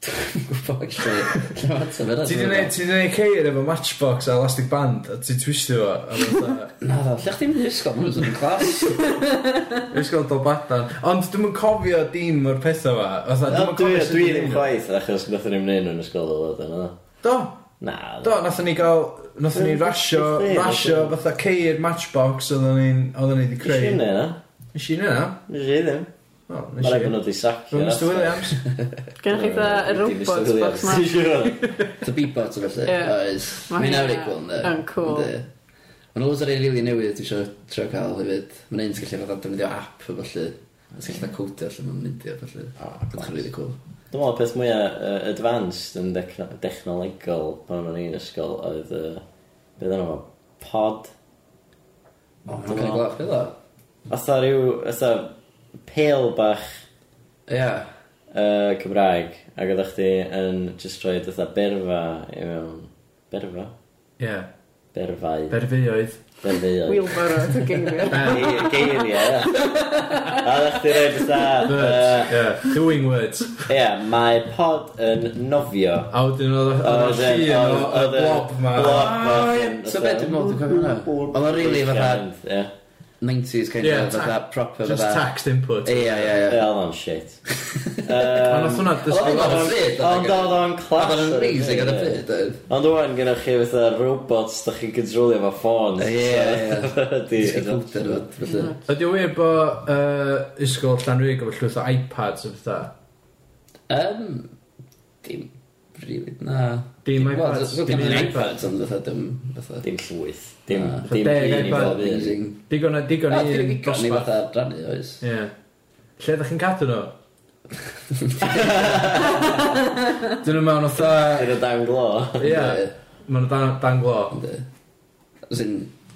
dwi'n gwybod, actually. Lle mae ateb yna?
Ti di gwneud ti di neud ceir efo matchbox a elastic band a ti'n twistio fo. a fatha-
Na, dda, lle chdi'n mynd i ysgol? Mae'n mynd i'n clas.
Ysgol dolbadan. Ond dwi'n cofio dim o'r pethau fa. Fatha, dwi'm yn
Dwi
cofio sut
dwi
dwi'n
ddim
neud o.
chwaith, achos nath ni'n mynd yn ysgol o ddod yna.
Do,
Na,
Do, nathon ni gael, nathon ni
Wel,
rasio,
wrth i,
rasio
wrth
fatha ceir matchbox oedden ni'n, oedden ni wedi
Nes i
creu.
hynny na?
Nes i hynna?
Nes i ddim.
O,
Mae'n
nes
rhaid
i.
bod nhw wedi sacio.
Rwy'n Mr Williams.
Gennych chi fatha y robot box ma.
Ti'n siŵr?
The beatbot o felly.
Ie.
Oes.
Ma'
Mae'n
hynna
awrig gweld, ne?
yn cool.
Mae'n lwys ar ei rili newydd dwi eisiau trio cael hefyd. Mae'n ein gallu fod defnyddio app o felly. Mae'n gallu cael codio allan mae'n mynd i o felly. Mae'n rili cool.
Dwi'n meddwl y peth mwyaf uh, advanced yn dechno- dechnolegol pan o'n i'n ysgol oedd... Uh, Beth yna fo? Pod?
O, mae'n
Dwi'n
cael
meddwl-
glas beth o?
Otha rhyw... Otha pale bach
Ie.
uh, Cymraeg ac oedd chdi yn just roed otha berfa i mewn... Berfa?
Ie.
Berfau.
Berfioedd.
Berfau.
Wheelbarrow to geiriau.
Geiriau, ia. A ddech chi'n
Birds.
rhaid bethau...
Yeah. Doing words.
Ia, mae pod yn nofio.
A wedyn oedd oedd y
Oedden-
llun o- y
oedd- oedd y
blob ma. Ah,
blob ma.
Ah, So beth dwi'n meddwl dwi'n cofio hwnna? Oedd o'n rili fatha
Ie,
90s kind
Yeah,
of fatha proper
Just
fatha.
text input.
Ie, ie,
Ie,
ie.
oedd o'n shit.
A nath hwnna
Oedd
dysgu...
o'n ffrid, oedd o'n-
Ond oedd o'n
Oedd
class.
o'n amazing ar y pryd, oedd.
Ond o'n gynnwch chi fatha robots da chi'n controlio fo ffôn.
Ie, ie, Ti'n
Ie,
gwybod yn fod, felly.
Ydy o wir bod uh, ysgol Llanrug efo llwyth o iPads o fatha?
Um, dim rili, na.
Dim
Wel,
iPads.
so
Dim
gennyn ni
un
iPads, ond fatha dim, fatha,
Dim llwyth. Dim,
Na.
dim
Deg
un i
iPad.
bob
fatha
un.
amazing.
Digon o digon
A,
o
dwi'n
un
licio ni
dosbarth.
fatha rannu, oes.
Ie. Lle ydych chi'n cadw nhw? Dyn nhw mewn
Yn
fatha...
y dan glo.
Ie. Maen nhw dan- dan glo.
Ynddi. As in,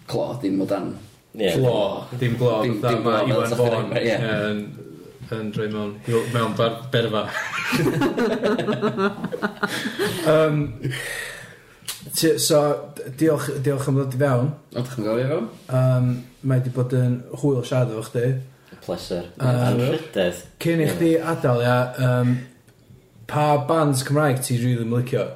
clo, dim o dan.
Ie.
Glo. Dim glo.
Dim-
Fatha
dim
ma
glo, fel
Iwan
sa chdi'n
Fawn
dweud, ie.
yn yn drwy mewn mewn bar- berfa. um, ti- so, d- diolch, diolch am ddod i fewn.
O, ddech chi'n gofio fo?
Um, mae wedi bod yn hwyl siarad efo chdi.
Pleser.
Yy,
Ah.
Anrhydedd.
Cyn i
Ie.
chdi adael, ia, um, pa bands Cymraeg ti'n rili really licio?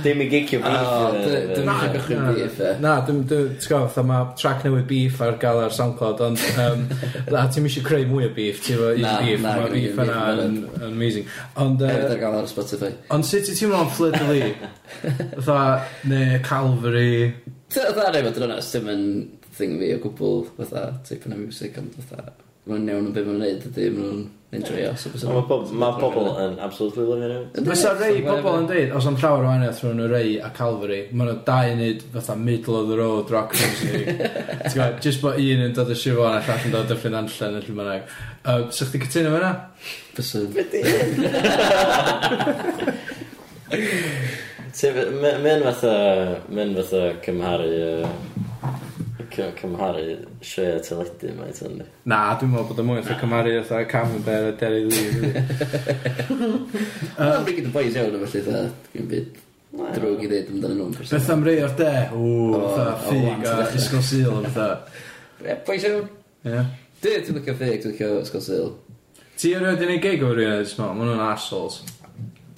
Dim i gicio
O,
beef.
Ah, dy-
yy,
dyna
yy,
chi'n gychwyn
Na,
beef, e.
Na, dwi'n gwybod, fatha mae track newydd beef ar gael ar SoundCloud, ond um, na, ti'n misio creu mwy o beef, ti'n fawr un
Na,
beef,
na,
mae
gynna
beef
fi
yna
beef
yn yn amazing. Ond, yy,
Hefyd ar gael ar Spotify.
ond sut ti'n teimlo am Fleur de Lis? Fatha, neu Calvary,
Ty- Fatha rhaid bod yn onest, dim yn thing fi o gwbl, fatha, type yna music, ond fatha, mae'n newn yn byd mae'n neud, ydy, mae nhw'n enjoyo. so bysa-
Ond Mae bob- mae pobl yn absolutely lyfio nhw.
Yndi,
Fysa
so
rei
whatever.
pobl yn deud, os am llawer o wahaniaeth rhwng y rei a Calvary, mae nhw dau yn neud fatha middle of the road rock music. Ti'n gwbod, just bod un yn dod y sifo a llall yn dod y ffyn anllen yn llymynag. Uh, so chdi cytuno fyna?
Bysa...
Mae'n fatha, mae'n fatha cymharu, yy, cy- cymharu sioe a teledu mae ti'n di.
Na, dwi'n meddwl bod y mwy fatha cymaru fatha Camembert a Derry Lee.
Mae'n brigid y boys iawn, felly, fatha, dwi'n byd drwg i ddeud amdano nhw'n person.
Beth am rei o'r de? Ww,
O,
fatha
o,
ffug
want
a
to-
ysgol sil yn fatha.
Ie, boys iawn.
Ie.
Dwi, dwi'n licio ffeg, dwi'n licio Ysgol Sil.
Ti erioed yn ei gig o'r rhywun, dwi'n meddwl, maen nhw'n assholes.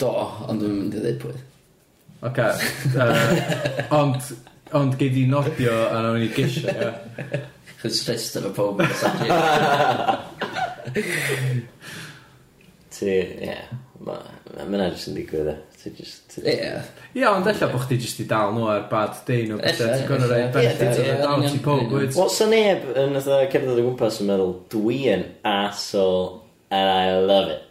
Do, ond dwi'n mynd i ddeud pwy.
Oce. Yy, Ond, ond gei di nodio a nawn ni gisio, ie.
Chos rest ar y pob yn safri.
Ti, ie, mae yna jyst yn digwydd e. Ti jyst, ti-
Ie.
Ie, ond ella bod chdi jyst i dal nhw ar bad day nhw beth
Ella,
ti'n gwneud rhaid
ella.
benefit
Ie,
o'r
ie,
dal
ie,
ti
ie.
pob wyt.
Wel, sa neb yn ytho cefnod o gwmpas yn meddwl, dwi yn asol and I love it.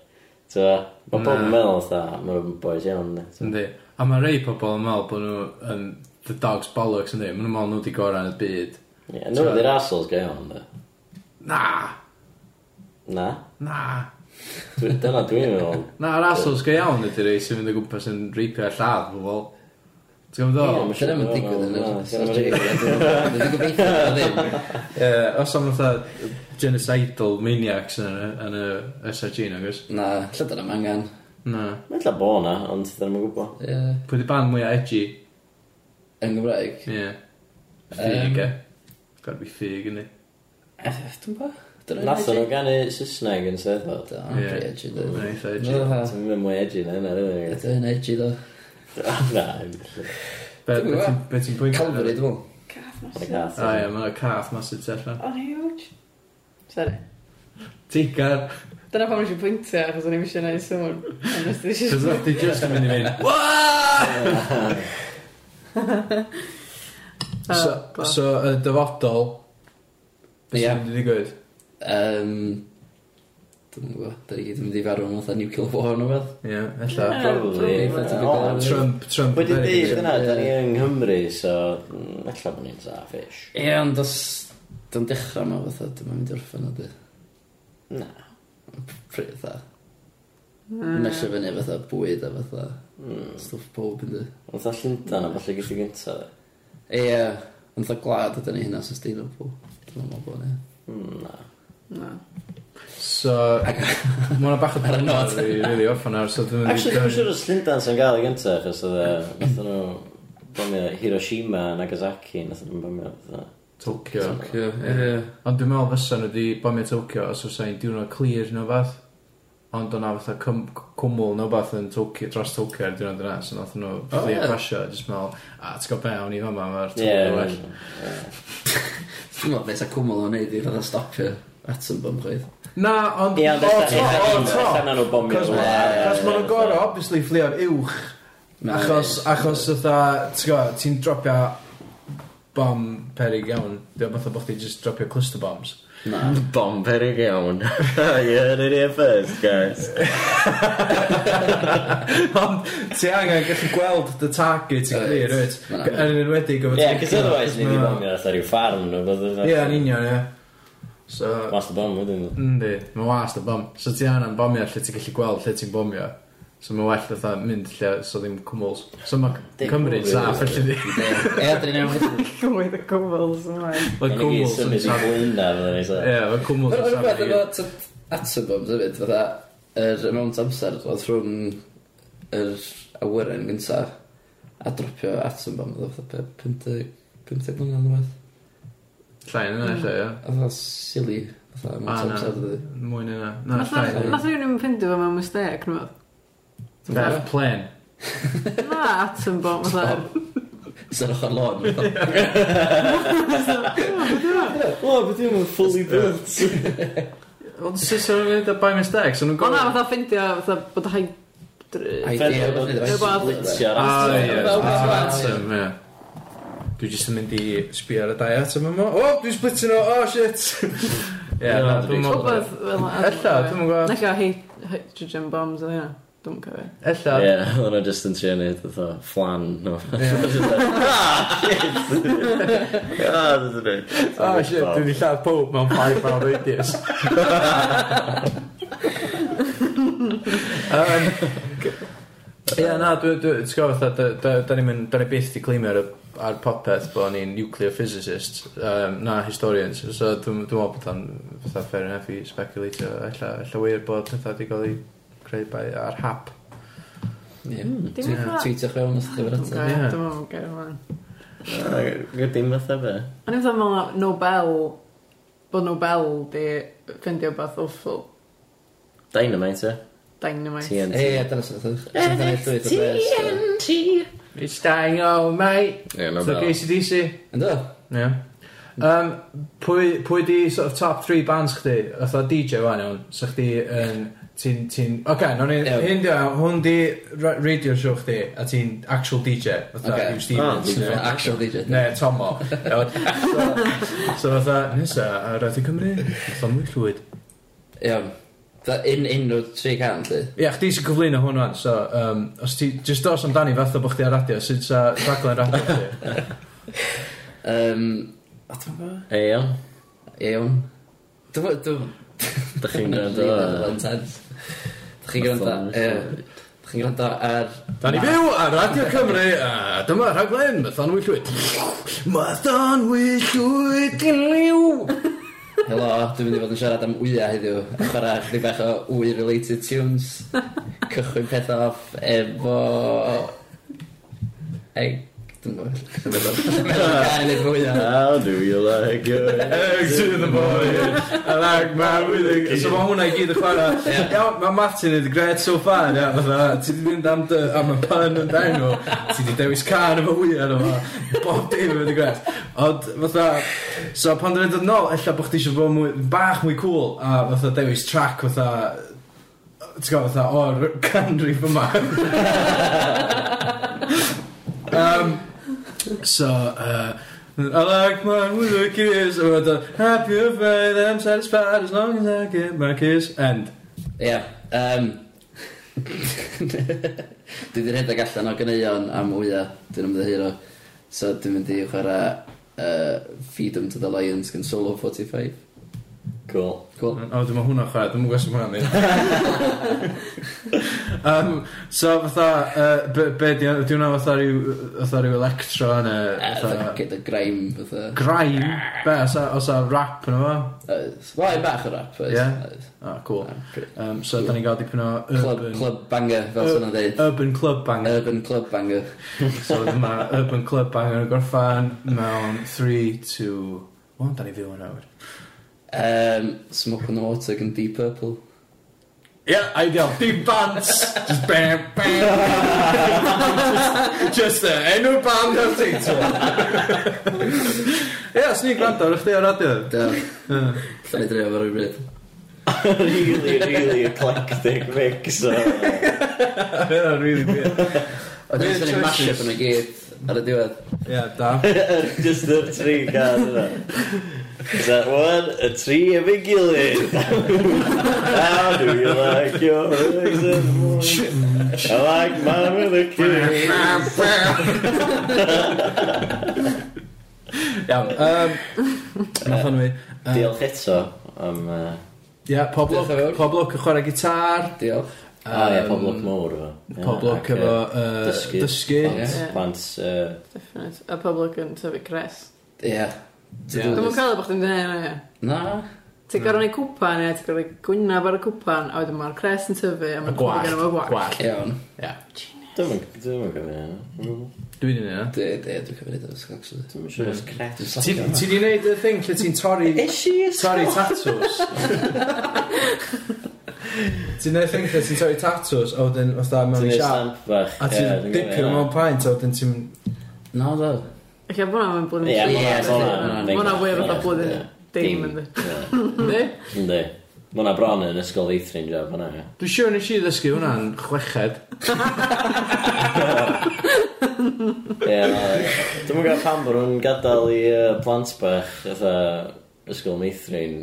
So, mae pob yn
Na.
meddwl ytho, mae'n boes iawn. yndi. So,
Yndi. A mae rei pobl yn meddwl bod nhw yn the dog's bollocks yndi. Mae nhw'n meddwl nhw di gorau yn y byd.
Ie, nhw ydy'r asols gael iawn, da.
Na,
Na,
na.
Dwi- dyna dwi'n meddwl.
Na, yr asos gael iawn ydy rei sy'n mynd o gwmpas yn reipio ar lladd pobl. Ti'n gwybod
Ie,
Dyna mae'n digwydd yn
Na,
yr
dyna ma'n
safri. Dwi'n gobeithio na ddim.
ddol? Os am fatha genocidal maniacs yn y- yn y SRG nag oes?
Na, lle dyna mae angen.
Na.
Mae'n lla bo na, ond dyna mae'n gwybod.
Ie.
Pwy di band mwy edgy?
Yn Gymraeg.
Ie. Fig,
Yym.
e. Gotta be fig, yndi.
Eh, Dwi'n ba? Dyna
Nath o'n ganu Saesneg yn Seddfod.
Dyna
Ie.
mae'n edgy. dwi.
Mae'n eitha edgy.
Dyna fa-
Ti'n mynd mwy edgy na yna,
Ie,
dwi'n
Dyna'n edgy ddo.
meddwl. Na, yn
Be be
Dwi'm yn gwbo.
ti'n- be ti'n pwynt?
Calvary, dwi'n mwyn.
Caff
y
massive.
gath.
A ie, mae'n cath masif tu allan.
O'n huge. Sorry.
Tigar.
Dyna pam nes i pwyntio, achos o'n i eisiau gwneud sŵn. Ond
Cos
nes i eisiau...
oedd di just yn mynd i fynd.
Ah,
Ah,
So, so y dyfodol, beth
Ie.
sy'n mynd i ddigwydd?
Yym... Dwi'n gwybod, da ni gyd yn mynd i farw mewn fatha nuclear war neu beth.
Ie, ella.
Probably.
Probably.
Ond
Trump, Trump.
Wedi
very
dweud
good.
yna, da ni yng Nghymru, so mm, ella bod ni'n saff ish.
Ie, ond os... Dwi'n dechrau ma fatha, dwi'n mynd i orffen o dy.
Na.
Pryd fatha. Mesio fyny fatha bwyd a fatha stwff pob yn dy.
Ond da Llundan a falle gysig gynta.
Ie, ond fatha glad ydyn ni hynna sustainable. Dwi'n meddwl bod ni.
Na.
Na.
So, mae hwnna bach o
Ar y
dwrnod
nod.
i really off ar, so dwi'n
Actually, dwi'n
mynd
siŵr os Lindans yn gael ei gynta, achos oedd e, nath nhw bomio Hiroshima a Nagasaki, nath nhw'n bomio, fatha.
i Tokyo.
Tokyo, ie.
Ond dwi'n meddwl fysa nhw wedi bomio Tokyo os oes ein diwrnod clir nhw fath. Ond o'na fatha cym- cwmwl nhw fath yn Tokyo, dros Tokyo ar diwrnod yna, so nath nhw
O,
clear
ie.
crasio, jyst meddwl, "Ah, a ti'n gwybod be, o'n i fama, mae'r
Oh, Ie,
Tokyo well.
ie.
Dwi'n meddwl beth a cwmwl o'n neud i fatha stopio atom bomb chweith.
Na, ond...
Ie, ond
o,
ella-
to,
ella-
o, to.
ella na nhw bomio
Cos
nhw.
ma-
Ie,
cos
ie,
ma' nhw'n
ie,
gorau,
fatha.
obviously, fflio'r uwch.
Na,
Achos,
ie.
achos ytha, ti'n gwybod, ti'n dropio bom perig iawn. Dwi'n meddwl bod chdi just dropio cluster bombs.
Na.
Bomb perig iawn. You heard it here first, guys.
Ond ti angen gallu gweld dy target i
Yy,
glir, wyt?
na.
Yn enwedig efo...
Ie, yeah, cos
Tokyo,
otherwise
achos
ni di
ma-
bomio fatha rhyw ffarm nhw, bod yn...
Ie, yn union, ie. So,
Mas y bomb wedyn.
yndi, mae wast y bom. So ti angen bomio lle ti'n gallu gweld lle ti'n bomio. So mae well fatha mynd lle, so ddim cwmwls. So mae
Dim
Cymru'n
cwmwl,
saff,
ie.
felly di.
Ie, dyn ni'n meddwl.
Gwyth y cwbls yma.
Mae
Ni gyd
cwmwls yn
symud i
saff.
Glynda, fydden ni, so.
Ie, mae cwmwls
Mae'n
yn saff.
rhywbeth
i
efo
gyd.
t- atom bombs hefyd, fatha, yr amount amser oedd rhwng yr awyren gynta a dropio atom bomb, oedd o fatha pe- 50 50 blynedd yn ymwneud.
Llai yn yna, lle, ie.
Oedd o silly, fatha
A,
amount
Ah, na,
amser oedd o.
mwy na yna. Na,
Nath
llai yn yna.
nath rhywun yn ffindio fo mewn mistake, nhw.
Beth, plen.
Na, atom bomb, fatha.
Sy'n ochr Oh. lôn.
O, beth yw'n fully built.
Ond sut sy'n rhywun yn by mistake? So nhw'n
O na,
gorau...
fatha ffindio, fatha bod y hydri...
Idea,
Fel-
wasn't it?
fel-
Wasn't
fel-
it?
Litio'r
Ah,
atom.
ie.
Fel
Ah,
Batman.
atom, ie. Dwi jyst yn mynd i sbio ar y dau atom yma. O, dwi'n splitio nhw, o, shit! Ie,
No,
na,
dwi'n
dwi'n meddwl...
Rhywbeth fel na.
Ella, dwi'm yn gwbod.
Ella hy- hydrogen bombs oedd hynna. Dwi'n cofio.
Ella,
Ie, o'n nhw just yn trio neud oedd o flan Ah, nhw. Ah,
o, Ah, shit, dwi wedi lladd pob mewn 5 mile radius. Um, Ie, na, dwi'n gwybod fatha, da- da da ni'n mynd- da ni byth i glimio ar y ar popeth bod ni'n nuclear physicists, um, na historians, so dwi'n dwi'n meddwl bod o'n fatha fair enough i speculatio, ella, ella wir bod pethau wedi cael eu creu by ar hap.
Ie.
Dim
Twi-
fatha-
Tweetiwch fewn os ydych chi'n fyrdd.
Dwi'n
ie.
cofio, dwi'n meddwl gair ymlaen.
Gwyddim Ah, fatha be.
O'n i'n meddwl fel Nobel, bod Nobel di ffindio beth awful.
Dynamite,
Dynamite.
Ie,
TNT.
ie, dyna sy'n ydych. Sy'n ydych chi'n llwyd.
It's dying all mate.
Ie,
So ACDC.
Ynddo?
Ie. Um, pwy, pwy di sort of top 3 bands chdi? Ytho DJ fan iawn, so chdi yn... Ti'n... Ti'n... Oce, okay, ni...
Iawn.
Hyn di hwn di ra- radio show chdi, a ti'n actual DJ. Ytho,
Oce.
okay. Hugh Stevens.
Ah,
neu-
Sy'n actual DJ.
Ne, Tomo. Iawn. so, so fatha, nesa, a rhaid i Cymru, fatha mwy llwyd.
Iawn. Fa un unrhyw tri can, lli.
Ie, chdi sy'n cyflwyno hwn wan, so, um, os ti, jyst dos amdani fatha bo chdi ar radio, sy'n sa raglen radio chdi?
Um, a dwi'n gwybod?
Eio,
Iawn. Dwi'n gwybod, dwi'n
dych chi'n gwrando.
gwybod. Dwi'n gwrando. Ie. Dwi'n gwrando ar...
Da ni fyw ar Radio Cymru, a dyma rhaglen Mathanwy Llwyd. Mathanwy Llwyd gynliw!
Helo, dwi'n mynd i fod yn siarad am wyau heddiw. A chwarae chdi bach o wy-related tunes. Cychwyn peth off efo... Ei, dwi'n gwybod. Dwi'n gwybod. Dwi'n gwybod.
How do you like it?
Eggs to the boy, I like man with a kid. So mae hwnna i gyd y chwarae. Iawn, mae Martin yn great so far, ia, fatha, ti di mynd am dy, am y pan yn dain o, ti di dewis car efo wyau yna fo, bob dim yn y gret. Ond, fatha, so pan dwi'n dod nôl, ella bod chdi eisiau bod mwy, bach mwy cool, a fatha dewis track, fatha, ti'n gwybod, fatha, o'r canrif yma. um, so, uh, I like mine with a kiss, or the happy or afraid, I'm satisfied as long as I get my kiss. End.
Ie. Um, dwi wedi rhedeg allan o ganeuon am wyau. Dwi'n ymddeheuro. So dwi'n mynd i chwarae uh, Feed 'em to the Lions gan Solo 45.
Cool.
Cool.
O, oh, dwi'n ma hwnna'n chwarae, dwi'n gwybod sut mae hwnna'n mynd. um, so, fatha, uh, be, be di di hwnna fatha rhyw, fatha rhyw electro neu
Fatha
fatha...
gyda grime, fatha.
Grime? Be, os a- os a rap yn efo?
Oes. Wel, un bach o rap, oes.
Ie.
Oes.
Ah, cool.
Ah, pretty-
Um, so, da ni'n gael dipyn o
Club,
urban...
club banger, fel sy'n o'n dweud.
Urban Club Banger.
Urban club banger.
So mae Urban Club Banger yn gorffan mewn 3, 2, 1, da ni fyw yn awr.
Um, smoke on the water gan Deep Purple.
Ie, ideal. Dim bands! Just bam, bam! just, just uh, enw band o'r teitl. Ie, os ni'n gwrando ar chdi ar radio.
Da. Llan i dreo fo rhywbryd.
really, really eclectic mix o...
Ie, really weird.
A dwi'n
Weird
sy'n mash-up
choices.
yn y gyd ar y diwedd.
Ie, da.
Just y tri gan yna. Is that one? Y tri efo'i gilydd. How do you like your exit? I like mine with a kid.
Iawn. Um, Nath hwnnw i. Yy,
Diolch eto am... Uh,
Ie,
Diolch yn
poblwc,
fawr.
poblwc yn chwarae gitar.
Diolch.
ah, ie, poblwc mowr efo. Ie,
Poblwc
ac,
Um, efo
yy,
yy,
dysgu.
dysgu.
Plant,
Ie.
plant, yy,
Definite. A pobl yn tyfu cres.
Ie.
Ie.
Dwi'n mwyn cael bod chdi'n dweud hynna, ie.
Na.
Ti'n gorau neud cwpan, ie, ti'n gorau gwynaf ar y cwpan, a wedyn mae'r cres yn tyfu, a
Y
mae'n
gwallt.
gyda fo gwallt.
Gwallt.
Iawn.
Ie.
Dwi'n mynd gofyn hynna.
Dwi'n un yna.
Dwi, dwi, dwi'n cofio neud o'r sgol, actually.
Dwi'n mynd siwr os cret.
Ti ti di neud y thing lle ti'n torri... Torri tatws. Ti'n neud y thing lle ti'n torri tatws, a wedyn fatha mewn
Ti'n
i
ei
siap.
stamp bach.
A
ie,
ti'n
dwi'n
dipio
gwbod, ie.
mewn pint, a wedyn ti'n...
Na, da.
Ac e, bwna mae'n blwyddyn...
Ie,
ma' hwnna-
Ie,
ma' hwnna-
ma' hwnna fwy o fatha
Ie.
blwyddyn dim yn dweud.
Ie.
Ne?
Yndi. Mae hwnna bron yn ysgol eithrin job hwnna. ie.
Dwi'n siŵr nes i ddysgu hwnna'n chweched.
Ie. Dwi'n mwyn gael pam bod nhw'n gadael i yy, plant bach fatha ysgol meithrin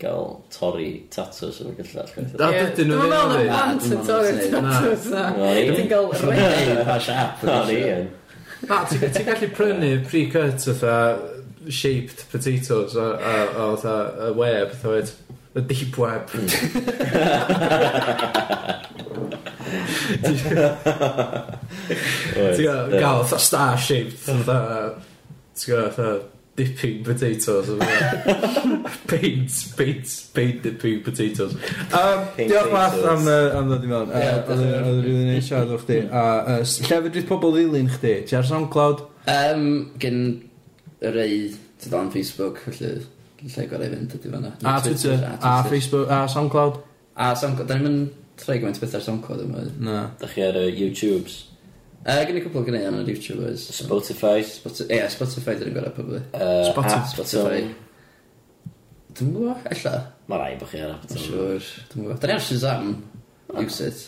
gael torri tatws yn y gyllall. chwaith.
A dydyn nhw
Dwi'n
ddim yn
meddwl am
dweud.
bant yn torri tatws a...
Wel, ie.
Ti'n cael rhaid.
Ei, pa siap.
O, ni yn.
Na, ti- ti'n gallu prynu pre-cut fatha shaped potatoes a a- a fatha y web, fatha wed, y deep web.
Oes.
Ti'n gael
Ie.
gael fatha star shaped fatha Ti'n gael fatha dipping potatoes a fatha Paint, paint, paint dipping potatoes um,
Paint
Diolch math
potatoes.
am, uh, am ddod i mewn
Ie,
Uh, Oedd
diolch yn
oedd rili neis siarad o'r chdi A uh, s- lle fe drwy'n pobl ddilyn chdi? Ti ar SoundCloud?
Um, gen y rei, ti dal yn Facebook, felly lle gorau fynd ydi fanna.
A Twitter? A Facebook? A SoundCloud?
A SoundCloud, da ni'n mynd troi gymaint o beth ar SoundCloud yma.
Na
Dach chi ar y YouTubes,
Uh, gen i cwpl gen i ar YouTubers.
Spotify,
Spotify, yeah, Spotify dyn nhw'n gorau probably.
uh,
Spotify.
Spotify. Dwi'n gwybod, ella.
Mae rai bod chi ar
Dwi'n
Apple.
siŵr. Dwi'n gwybod. Da ni ar Shazam. Use it.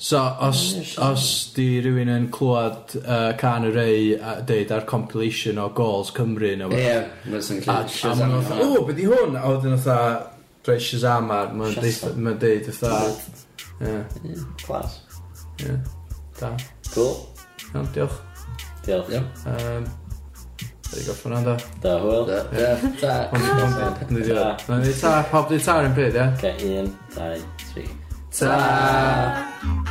So, os, os di rhywun yn clywed uh, can y rei a deud ar compilation o goals Cymru neu
Ie,
wbath,
mae'n sy'n
a- a
gallu
maen
Shazam.
nhw'n fatha, o, beth i hwn? A wedyn fatha, droi Shazam ar, maen nhw'n deud-
Shazam.
maen nhw'n deud fatha, ie,
Clas.
ie, da,
Cool.
iawn, diolch.
Diolch.
Iawn.
Um, Dwi'n gorffen hwnna, da.
Da, hwyl.
Da, da, da.
Ond- ond- ond- Dwi'n diolch. Dwi'n ta, pob dwi'n ta'r yn pryd, ie?
Ca un, dau, tri.
Ta!